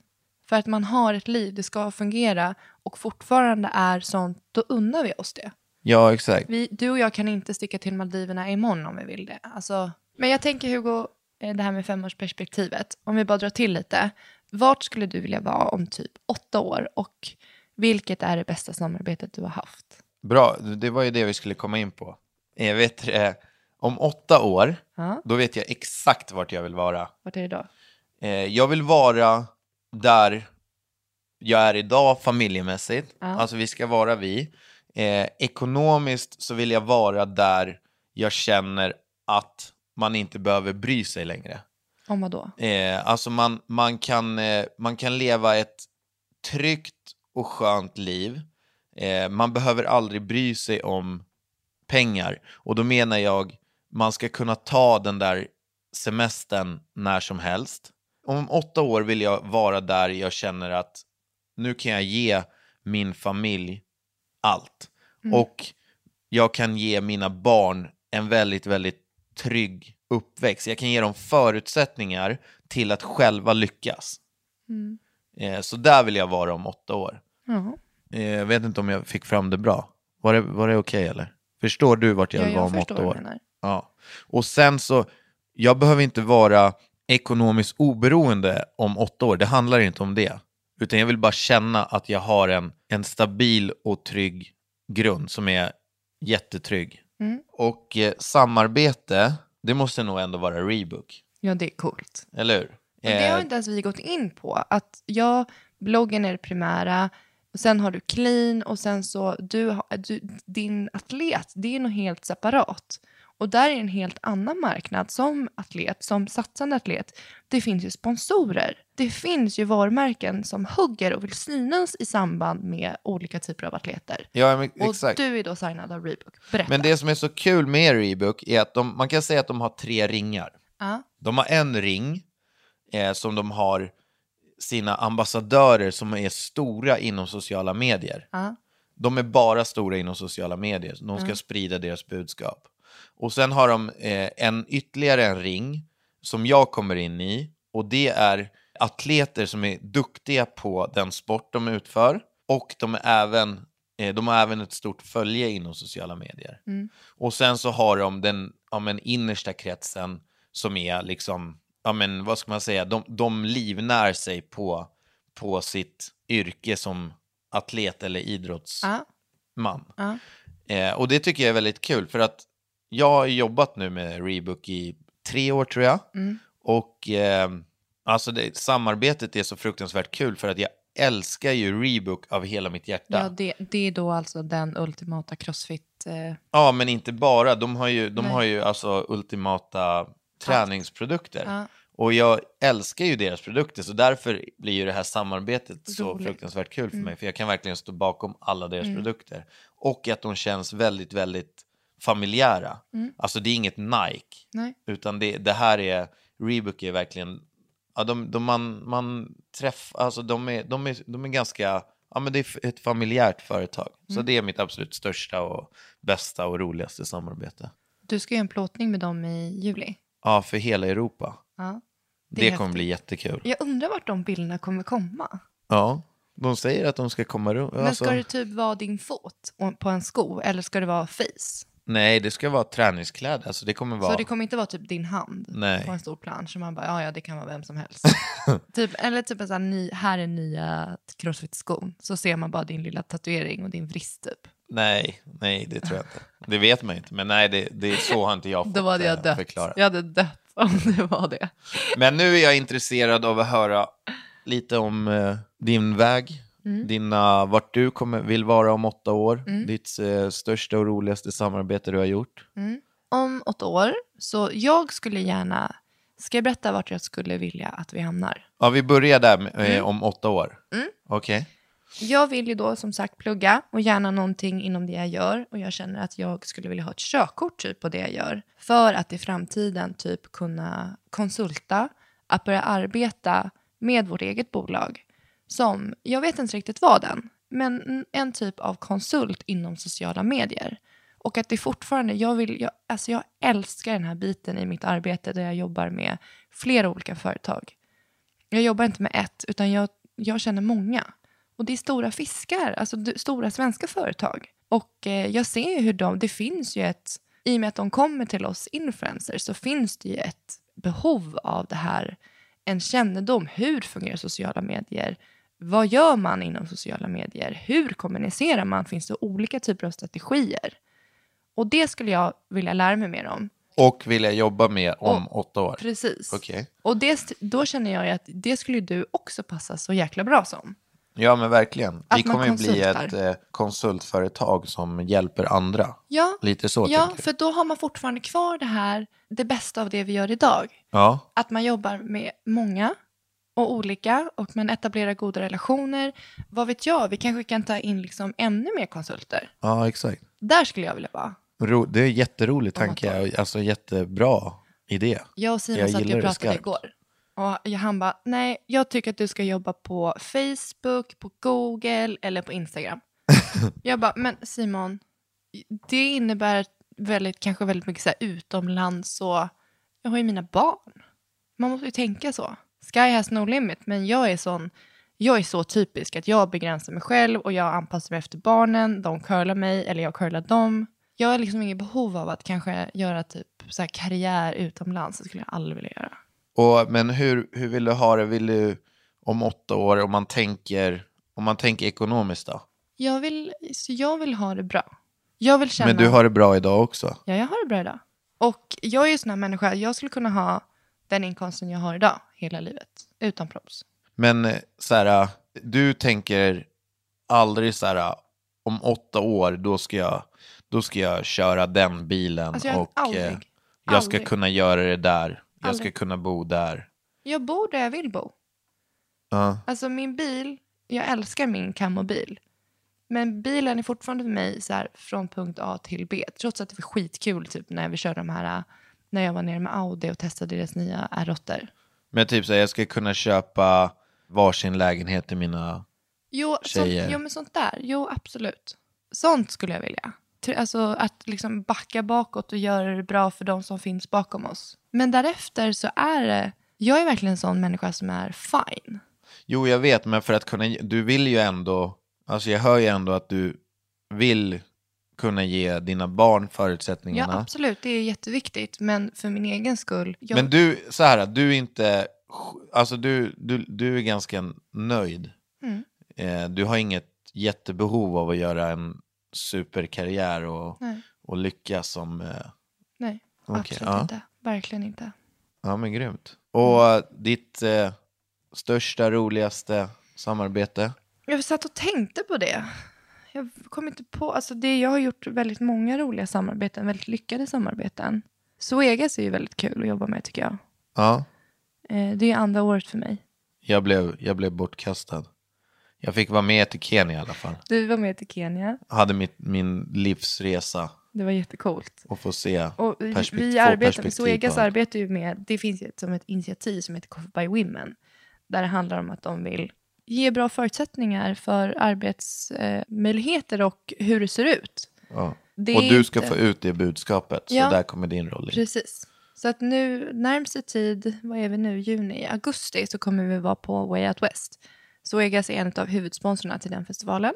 [SPEAKER 4] För att man har ett liv, det ska fungera och fortfarande är sånt, då unnar vi oss det.
[SPEAKER 3] Ja, exakt.
[SPEAKER 4] Vi, du och jag kan inte sticka till Maldiverna imorgon om vi vill det. Alltså, men jag tänker Hugo, eh, det här med femårsperspektivet, om vi bara drar till lite. Vart skulle du vilja vara om typ åtta år och vilket är det bästa samarbetet du har haft?
[SPEAKER 3] Bra, det var ju det vi skulle komma in på. Jag vet, eh, om åtta år,
[SPEAKER 4] Ja.
[SPEAKER 3] då vet jag exakt vart jag vill vara.
[SPEAKER 4] Vart är det då?
[SPEAKER 3] Eh, jag vill vara där jag är idag familjemässigt. Alltså vi ska vara vi. Eh, ekonomiskt så vill jag vara där jag känner att man inte behöver bry sig längre.
[SPEAKER 4] Om vad då?
[SPEAKER 3] Eh, alltså man, man, kan, eh, man kan leva ett tryggt och skönt liv. Eh, man behöver aldrig bry sig om pengar. Och då menar jag, man ska kunna ta den där semestern när som helst. Om åtta år vill jag vara där jag känner att nu kan jag ge min familj allt.
[SPEAKER 4] Mm.
[SPEAKER 3] Och jag kan ge mina barn en väldigt, väldigt trygg uppväxt. Jag kan ge dem förutsättningar till att själva lyckas. Eh, Så där vill jag vara om åtta år.
[SPEAKER 4] Mm. Ja,
[SPEAKER 3] Eh, Jag vet inte om jag fick fram det bra. Var det, var det okej eller? Förstår du vart jag
[SPEAKER 4] jag,
[SPEAKER 3] vill vara
[SPEAKER 4] jag
[SPEAKER 3] om
[SPEAKER 4] förstår
[SPEAKER 3] åtta
[SPEAKER 4] vad
[SPEAKER 3] år?
[SPEAKER 4] du menar.
[SPEAKER 3] Ja. Och sen så, jag behöver inte vara ekonomiskt oberoende om åtta år. Det handlar inte om det. Utan jag vill bara känna att jag har en, en stabil och trygg grund som är jättetrygg. Och eh, samarbete, det måste nog ändå vara Rebook.
[SPEAKER 4] Ja, det är coolt.
[SPEAKER 3] Eller hur?
[SPEAKER 4] Men det har
[SPEAKER 3] Eh,
[SPEAKER 4] inte ens vi gått in på. Att jag, bloggen är det primära, och sen har du clean och sen så du, har- du, din atlet, det är nog helt separat. Och där är en helt annan marknad som atlet, som satsande atlet. Det finns ju sponsorer. Det finns ju varumärken som hugger och vill synas i samband med olika typer av atleter.
[SPEAKER 3] ja, men,
[SPEAKER 4] Och
[SPEAKER 3] exakt.
[SPEAKER 4] du är då signad av Reebok. Berätta.
[SPEAKER 3] Men det som är så kul med Rebook är att de, man kan säga att de har tre ringar.
[SPEAKER 4] Ja.
[SPEAKER 3] De har en ring eh, som de har sina ambassadörer som är stora inom sociala medier.
[SPEAKER 4] Ja.
[SPEAKER 3] De är bara stora inom sociala medier. De ska sprida deras budskap. Och sen har de eh, en, ytterligare en ring som jag kommer in i. Och det är atleter som är duktiga på den sport de utför. Och de, är även, eh, de har även ett stort följe inom sociala medier. Och sen så har de den ja, men, innersta kretsen som är liksom, ja men vad ska man säga, de, de livnär sig på, på sitt yrke som atlet eller idrottsman.
[SPEAKER 4] Ja. Ja.
[SPEAKER 3] Eh, och det tycker jag är väldigt kul för att jag har jobbat nu med Rebook i tre år tror jag.
[SPEAKER 4] Mm.
[SPEAKER 3] Och eh, alltså det, samarbetet är så fruktansvärt kul för att jag älskar ju Rebook av hela mitt hjärta.
[SPEAKER 4] Ja, det, det är då alltså den ultimata crossfit... Eh,
[SPEAKER 3] Ja, men inte bara. De har ju, de
[SPEAKER 4] Nej.
[SPEAKER 3] har ju alltså ultimata träningsprodukter.
[SPEAKER 4] Ja.
[SPEAKER 3] Och jag älskar ju deras produkter, så därför blir ju det här samarbetet så
[SPEAKER 4] Roligt. Mm.
[SPEAKER 3] fruktansvärt kul för mig. För jag kan verkligen stå bakom alla deras produkter. Och att de känns väldigt, väldigt familjära.
[SPEAKER 4] Mm.
[SPEAKER 3] Alltså det är inget Nike,
[SPEAKER 4] nej.
[SPEAKER 3] utan det, det här är, Reebok är verkligen, ja, de, de man, man träffar, alltså de är, de är, de är ganska, ja men det är f- ett familjärt företag.
[SPEAKER 4] Mm.
[SPEAKER 3] Så det är mitt absolut största och bästa och roligaste samarbete.
[SPEAKER 4] Du ska göra en plåtning med dem i juli.
[SPEAKER 3] Ja, för hela Europa.
[SPEAKER 4] Ja.
[SPEAKER 3] Det,
[SPEAKER 4] är
[SPEAKER 3] kommer
[SPEAKER 4] häftigt.
[SPEAKER 3] bli jättekul.
[SPEAKER 4] Jag undrar vart de bilderna kommer komma.
[SPEAKER 3] Ja, de säger att de ska komma runt.
[SPEAKER 4] Men
[SPEAKER 3] Alltså,
[SPEAKER 4] ska det typ vara din fot och- på en sko eller ska det vara face?
[SPEAKER 3] Nej, det ska vara träningskläder. Alltså det kommer vara...
[SPEAKER 4] Så det kommer inte vara typ din hand
[SPEAKER 3] Nej.
[SPEAKER 4] på en stor plansch som man bara, ja ja det kan vara vem som helst. typ, eller typ en sån här, ny, här är nya crossfit-skon. Så ser man bara din lilla tatuering och din vrist typ.
[SPEAKER 3] Nej, nej, det tror jag inte. Det vet man inte, men nej, det, det är så har inte jag fått
[SPEAKER 4] Då hade jag
[SPEAKER 3] eh,
[SPEAKER 4] dött.
[SPEAKER 3] förklara.
[SPEAKER 4] Jag hade dött om det var det.
[SPEAKER 3] Men nu är jag intresserad av att höra lite om eh, din väg,
[SPEAKER 4] Mm.
[SPEAKER 3] dina, vart du kommer, vill vara om åtta år, ditt eh, största och roligaste samarbete du har gjort.
[SPEAKER 4] Om åtta år, så jag skulle gärna, ska jag berätta vart jag skulle vilja att vi hamnar?
[SPEAKER 3] Ja, vi börjar där med, eh,
[SPEAKER 4] Mm.
[SPEAKER 3] om åtta år. Okej.
[SPEAKER 4] Jag vill ju då som sagt plugga och gärna någonting inom det jag gör och jag känner att jag skulle vilja ha ett körkort typ på det jag gör för att i framtiden typ kunna konsulta att börja arbeta med vårt eget bolag som, jag vet inte riktigt vad än, men en typ av konsult inom sociala medier. Och att det fortfarande, jag, vill, jag, alltså jag älskar den här biten i mitt arbete där jag jobbar med flera olika företag. Jag jobbar inte med ett, utan jag, jag känner många. Och det är stora fiskar, alltså d- stora svenska företag. Och eh, jag ser ju hur de, det finns ju ett, i och med att de kommer till oss influencers, så finns det ju ett behov av det här, en kännedom, hur fungerar sociala medier? Vad gör man inom sociala medier? Hur kommunicerar man? Finns det olika typer av strategier? Och det skulle jag vilja lära mig mer om.
[SPEAKER 3] Och vill jag jobba med om
[SPEAKER 4] Och-
[SPEAKER 3] åtta år.
[SPEAKER 4] Precis.
[SPEAKER 3] Okej.
[SPEAKER 4] Och det, då känner jag ju att det skulle ju du också passa så jäkla bra som.
[SPEAKER 3] Ja, men verkligen.
[SPEAKER 4] Att
[SPEAKER 3] Vi
[SPEAKER 4] man
[SPEAKER 3] kommer ju bli
[SPEAKER 4] konsultar.
[SPEAKER 3] ett eh, konsultföretag som hjälper andra.
[SPEAKER 4] Ja,
[SPEAKER 3] Lite så
[SPEAKER 4] ja
[SPEAKER 3] tänker jag.
[SPEAKER 4] för då har man fortfarande kvar det här, det bästa av det vi gör idag.
[SPEAKER 3] Ja.
[SPEAKER 4] Att man jobbar med många och olika och man etablerar goda relationer. Vad vet jag, vi kanske kan ta in liksom ännu mer konsulter.
[SPEAKER 3] ja, exakt.
[SPEAKER 4] Där skulle jag vilja vara.
[SPEAKER 3] Ro, det är en jätterolig
[SPEAKER 4] Om åtta
[SPEAKER 3] tanke, alltså jättebra idé.
[SPEAKER 4] Jag och Simon
[SPEAKER 3] Jag
[SPEAKER 4] satt
[SPEAKER 3] gillar
[SPEAKER 4] ju och
[SPEAKER 3] det
[SPEAKER 4] pratade
[SPEAKER 3] skarpt.
[SPEAKER 4] igår. Och jag- han bara, nej, jag tycker att du ska jobba på Facebook, på Google eller på Instagram. Jag bara, men Simon, det innebär väldigt, kanske väldigt mycket så här utomlands och jag har ju mina barn. Man måste ju tänka så. Sky has no limit, men jag är sån, jag är så typisk att jag begränsar mig själv och jag anpassar mig efter barnen, de curlar mig eller jag curlar dem. Jag har liksom inget behov av att kanske göra typ så här karriär utomlands, det skulle jag aldrig vilja göra.
[SPEAKER 3] Och, men hur, hur vill du ha det? Vill du om åtta år, om man tänker, om man tänker ekonomiskt då?
[SPEAKER 4] Jag vill, så jag vill ha det bra. Jag vill känna...
[SPEAKER 3] Men du har det bra idag också?
[SPEAKER 4] Ja, jag har det bra idag. Och jag är ju sån här människa, jag skulle kunna ha den inkomsten jag har idag hela livet, utan props.
[SPEAKER 3] Men eh, så här, du tänker aldrig så här, eh, om åtta år, då ska jag, då ska jag köra den bilen
[SPEAKER 4] Alltså, jag-
[SPEAKER 3] och
[SPEAKER 4] aldrig.
[SPEAKER 3] eh, jag ska
[SPEAKER 4] Aldrig.
[SPEAKER 3] kunna göra det där, jag
[SPEAKER 4] Aldrig.
[SPEAKER 3] ska kunna bo där.
[SPEAKER 4] Jag bor där jag vill bo.
[SPEAKER 3] Ja.
[SPEAKER 4] Alltså min bil, jag älskar min kammobil. Men bilen är fortfarande för mig så här, från punkt A till B. Trots att det var skitkul typ, när vi körde de här, äh, när jag var nere med Audi och testade deras nya R8.
[SPEAKER 3] Men typ så här, jag ska kunna köpa varsin lägenhet till mina...
[SPEAKER 4] Jo, sånt,
[SPEAKER 3] Tjejer.
[SPEAKER 4] jo, men sånt där. Jo, absolut. Sånt skulle jag vilja. Tr- Alltså att liksom backa bakåt och göra det bra för de som finns bakom oss. Men därefter så är det... Jag är verkligen en sån människa som är fine.
[SPEAKER 3] Jo, jag vet, men för att kunna... Du vill ju ändå... Alltså jag hör ju ändå att du vill kunna ge dina barn
[SPEAKER 4] Ja,
[SPEAKER 3] förutsättningarna.
[SPEAKER 4] absolut. Det är jätteviktigt. Men för min egen skull... Jag,
[SPEAKER 3] Men du, så här, du är inte... Alltså du, du, du är ganska nöjd.
[SPEAKER 4] Mm.
[SPEAKER 3] Eh, du har inget jättebehov av att göra en superkarriär och,
[SPEAKER 4] Nej.
[SPEAKER 3] och lyckas som... Eh,
[SPEAKER 4] Nej,
[SPEAKER 3] Okej,
[SPEAKER 4] absolut
[SPEAKER 3] ja.
[SPEAKER 4] inte. Verkligen inte.
[SPEAKER 3] ja, men grymt. Och
[SPEAKER 4] Mm.
[SPEAKER 3] ditt eh, största, roligaste samarbete?
[SPEAKER 4] Jag satt och tänkte på det. Jag kom inte på, alltså det, jag har gjort väldigt många roliga samarbeten, väldigt lyckade samarbeten. Zoegas är ju väldigt kul att jobba med tycker jag.
[SPEAKER 3] Ja,
[SPEAKER 4] Eh, det är andra året för mig.
[SPEAKER 3] jag blev, jag blev bortkastad. Jag fick vara med till Kenya i alla fall.
[SPEAKER 4] Du var med till Kenya,
[SPEAKER 3] Jag hade mitt, min livsresa
[SPEAKER 4] det var jättecoolt.
[SPEAKER 3] och få se
[SPEAKER 4] Och vi,
[SPEAKER 3] perspekt-
[SPEAKER 4] vi
[SPEAKER 3] få
[SPEAKER 4] arbetar,
[SPEAKER 3] perspektiv
[SPEAKER 4] Zoegas
[SPEAKER 3] på allt.
[SPEAKER 4] arbetar ju med, det finns ju ett, som ett initiativ som heter Coffee by Women. Där det handlar om att de vill ge bra förutsättningar för arbetsmöjligheter och hur det ser ut.
[SPEAKER 3] Ja.
[SPEAKER 4] Det
[SPEAKER 3] och
[SPEAKER 4] är
[SPEAKER 3] du ska
[SPEAKER 4] inte-
[SPEAKER 3] få ut det budskapet,
[SPEAKER 4] Ja.
[SPEAKER 3] så där kommer din roll in.
[SPEAKER 4] Precis. Så att nu, närmst i tid, vad är vi nu, juni, augusti, så kommer vi vara på Way Out West. Zoegas är en av huvudsponsorerna till den festivalen.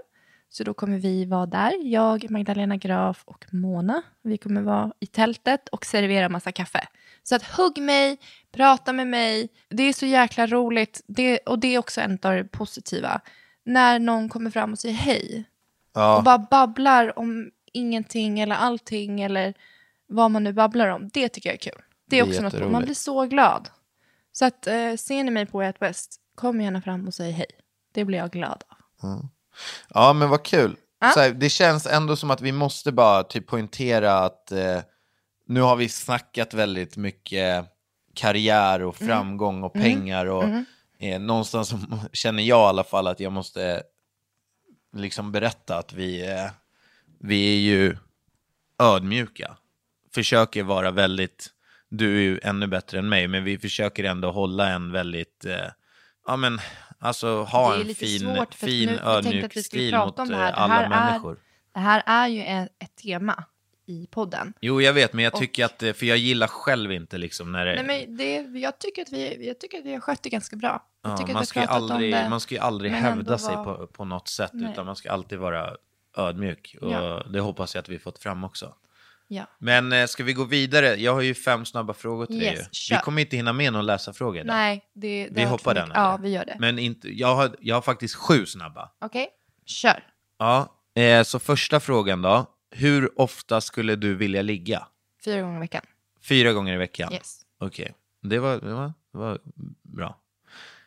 [SPEAKER 4] Så då kommer vi vara där, jag, Magdalena Graf och Mona. Vi kommer vara i tältet och servera massa kaffe. Så att hugg mig, prata med mig. Det är så jäkla roligt. Det, och det är också en av det positiva. När någon kommer fram och säger hej, och bara babblar om ingenting eller allting eller vad man nu babblar om. Det tycker jag är kul. Det är
[SPEAKER 3] Det är
[SPEAKER 4] också något bra. Man
[SPEAKER 3] jätteroligt.
[SPEAKER 4] blir så glad. Så att eh, ser ni mig på Way Out West, kom gärna fram och säg hej. Det blir jag glad av.
[SPEAKER 3] Ja, men vad kul.
[SPEAKER 4] Ja.
[SPEAKER 3] Så här, det känns ändå som att vi måste bara typ poängtera att eh, nu har vi snackat väldigt mycket karriär och
[SPEAKER 4] Mm.
[SPEAKER 3] framgång och pengar. Och, eh, någonstans så känner jag i alla fall att jag måste eh, liksom berätta att vi, eh, vi är ju ödmjuka. Försöker vara väldigt, du är ju ännu bättre än mig, men vi försöker ändå hålla en väldigt, eh, ja men alltså ha
[SPEAKER 4] Det är
[SPEAKER 3] en
[SPEAKER 4] lite
[SPEAKER 3] fin,
[SPEAKER 4] svårt, för att
[SPEAKER 3] fin
[SPEAKER 4] nu- jag tänkte att vi
[SPEAKER 3] ödmjuk
[SPEAKER 4] skulle
[SPEAKER 3] stil
[SPEAKER 4] prata om
[SPEAKER 3] mot
[SPEAKER 4] det här.
[SPEAKER 3] eh,
[SPEAKER 4] Det
[SPEAKER 3] alla
[SPEAKER 4] här är-
[SPEAKER 3] människor.
[SPEAKER 4] Det här är ju ett, ett tema i podden.
[SPEAKER 3] Jo, jag vet, men jag
[SPEAKER 4] Och-
[SPEAKER 3] tycker att, eh, för jag gillar själv inte liksom när det,
[SPEAKER 4] Nej, men det, jag, tycker att vi, jag tycker att vi har skött det ganska bra. Jag
[SPEAKER 3] ja,
[SPEAKER 4] tycker
[SPEAKER 3] man,
[SPEAKER 4] att vi
[SPEAKER 3] ska ju
[SPEAKER 4] har pratat
[SPEAKER 3] aldrig,
[SPEAKER 4] om det.
[SPEAKER 3] man ska ju aldrig
[SPEAKER 4] men
[SPEAKER 3] hävda
[SPEAKER 4] ändå
[SPEAKER 3] sig
[SPEAKER 4] var-
[SPEAKER 3] på, på något sätt,
[SPEAKER 4] Nej.
[SPEAKER 3] utan man ska alltid vara ödmjuk. Och
[SPEAKER 4] Ja.
[SPEAKER 3] det hoppas jag att vi fått fram också.
[SPEAKER 4] Ja.
[SPEAKER 3] Men eh, ska vi gå vidare? Jag har ju fem snabba frågor till dig.
[SPEAKER 4] Yes,
[SPEAKER 3] ju.
[SPEAKER 4] kör.
[SPEAKER 3] Vi kommer inte hinna med någon läsarfråga idag.
[SPEAKER 4] Nej, det, det
[SPEAKER 3] vi
[SPEAKER 4] har varit
[SPEAKER 3] hoppar
[SPEAKER 4] för
[SPEAKER 3] den.
[SPEAKER 4] mycket. Ja,
[SPEAKER 3] eller?
[SPEAKER 4] vi gör det.
[SPEAKER 3] Men inte, jag, har, jag har faktiskt sju snabba.
[SPEAKER 4] Okej, kör.
[SPEAKER 3] Ja, eh, så första frågan då. Hur ofta skulle du vilja ligga?
[SPEAKER 4] Fyra gånger i veckan.
[SPEAKER 3] Fyra gånger i veckan?
[SPEAKER 4] Yes.
[SPEAKER 3] Okej, det, var, det, var, det var bra.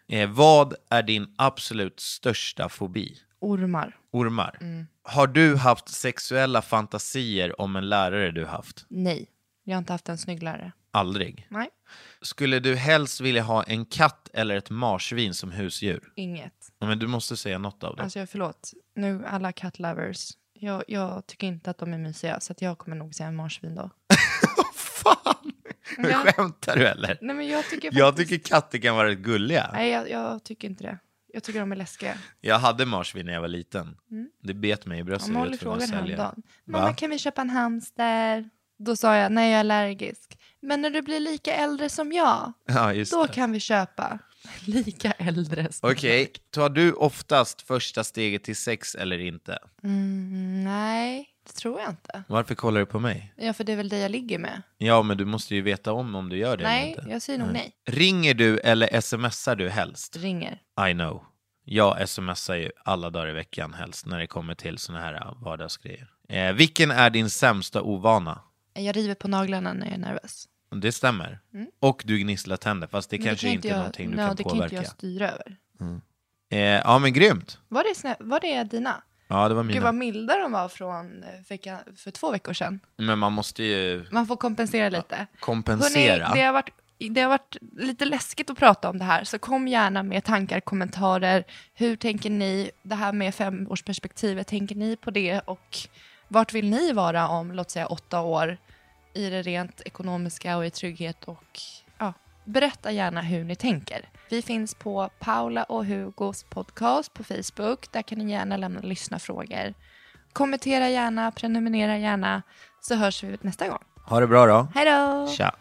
[SPEAKER 3] Eh, vad är din absolut största fobi?
[SPEAKER 4] Ormar.
[SPEAKER 3] Ormar.
[SPEAKER 4] Mm.
[SPEAKER 3] Har du haft sexuella fantasier om en lärare du haft?
[SPEAKER 4] Nej, jag har inte haft en snygg lärare.
[SPEAKER 3] Aldrig.
[SPEAKER 4] Nej.
[SPEAKER 3] Skulle du helst vilja ha en katt eller ett marsvin som husdjur?
[SPEAKER 4] Inget.
[SPEAKER 3] Ja, Men du måste säga något av det.
[SPEAKER 4] Alltså jag förlåt, nu alla cat lovers. Jag, jag tycker inte att de är mysiga så att jag kommer nog säga marsvin då.
[SPEAKER 3] Fan!
[SPEAKER 4] jag-
[SPEAKER 3] Skämtar du eller?
[SPEAKER 4] Nej men jag tycker
[SPEAKER 3] Jag
[SPEAKER 4] faktiskt...
[SPEAKER 3] tycker katter kan vara rätt gulliga.
[SPEAKER 4] Nej jag, jag tycker inte det. Jag tycker de är läskiga.
[SPEAKER 3] Jag hade marsvin när jag var liten. Det bet mig i bröstet.
[SPEAKER 4] Mm.
[SPEAKER 3] jag
[SPEAKER 4] Ja,
[SPEAKER 3] var
[SPEAKER 4] Molly
[SPEAKER 3] tvungen att
[SPEAKER 4] frågade
[SPEAKER 3] sälja.
[SPEAKER 4] häromdagen.
[SPEAKER 3] Va?
[SPEAKER 4] Mamma kan vi köpa en hamster? Då sa jag nej jag är allergisk. Men när du blir lika äldre som jag,
[SPEAKER 3] Ja, just
[SPEAKER 4] då
[SPEAKER 3] det.
[SPEAKER 4] kan vi köpa. Lika äldre som
[SPEAKER 3] Okej, tar du oftast första steget till sex eller inte?
[SPEAKER 4] Mm, nej, det tror jag inte.
[SPEAKER 3] Varför kollar du på mig?
[SPEAKER 4] Ja, för det är väl det jag ligger med.
[SPEAKER 3] Ja, men du måste ju veta om om du gör det
[SPEAKER 4] nej,
[SPEAKER 3] eller inte.
[SPEAKER 4] jag säger nog nej.
[SPEAKER 3] Ringer du eller smsar du helst?
[SPEAKER 4] Ringer.
[SPEAKER 3] I know. Jag smsar ju alla dagar i veckan helst när det kommer till såna här äh, vardagsgrejer. Eh, vilken är din sämsta ovana?
[SPEAKER 4] Jag river på naglarna när jag är nervös.
[SPEAKER 3] Det stämmer. Och du gnisslar tänder, fast det
[SPEAKER 4] Mm. Men
[SPEAKER 3] kanske
[SPEAKER 4] kan
[SPEAKER 3] inte är någonting du
[SPEAKER 4] nej,
[SPEAKER 3] kan
[SPEAKER 4] det
[SPEAKER 3] påverka.
[SPEAKER 4] kan inte jag styra över.
[SPEAKER 3] eh, ja, men grymt.
[SPEAKER 4] Var det, snä- var det dina?
[SPEAKER 3] Ja, det var
[SPEAKER 4] Gud
[SPEAKER 3] mina.
[SPEAKER 4] vad milda de var från eh, vecka, för två veckor sedan.
[SPEAKER 3] Men man måste ju
[SPEAKER 4] Man får kompensera lite.
[SPEAKER 3] kompensera.
[SPEAKER 4] Hörrni, det, har varit, det har varit lite läskigt att prata om det här, så kom gärna med tankar, kommentarer. Hur tänker ni? Det här med femårsperspektivet, tänker ni på det? Och vart vill ni vara om, låt säga, åtta år? I det rent ekonomiska och i trygghet och ja, berätta gärna hur ni tänker. Vi finns på Paula och Hugos podcast på Facebook. Där kan ni gärna lämna lyssna frågor. Kommentera gärna, prenumerera gärna, så hörs vi nästa gång.
[SPEAKER 3] Ha det bra då.
[SPEAKER 4] Hej då!
[SPEAKER 3] Tja.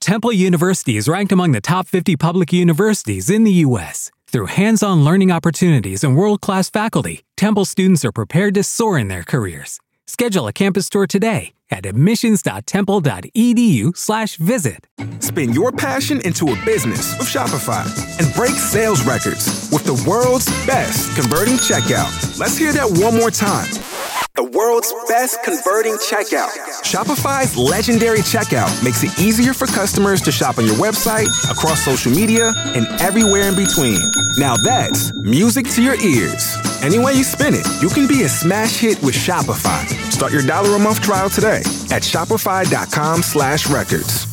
[SPEAKER 5] Temple University is ranked among the top 50 public universities in the U.S. Through hands on learning opportunities and world class faculty, Temple students are prepared to soar in their careers. Schedule a campus tour today at admissions.temple.edu/slash visit.
[SPEAKER 8] Spin your passion into a business with Shopify and break sales records with the world's best converting checkout. Let's hear that one more time. The world's best converting checkout. Shopify's legendary checkout makes it easier for customers to shop on your website, across social media, and everywhere in between. Now that's music to your ears. Any way you spin it, you can be a smash hit with Shopify. Start your dollar a month trial today at shopify.com slash records.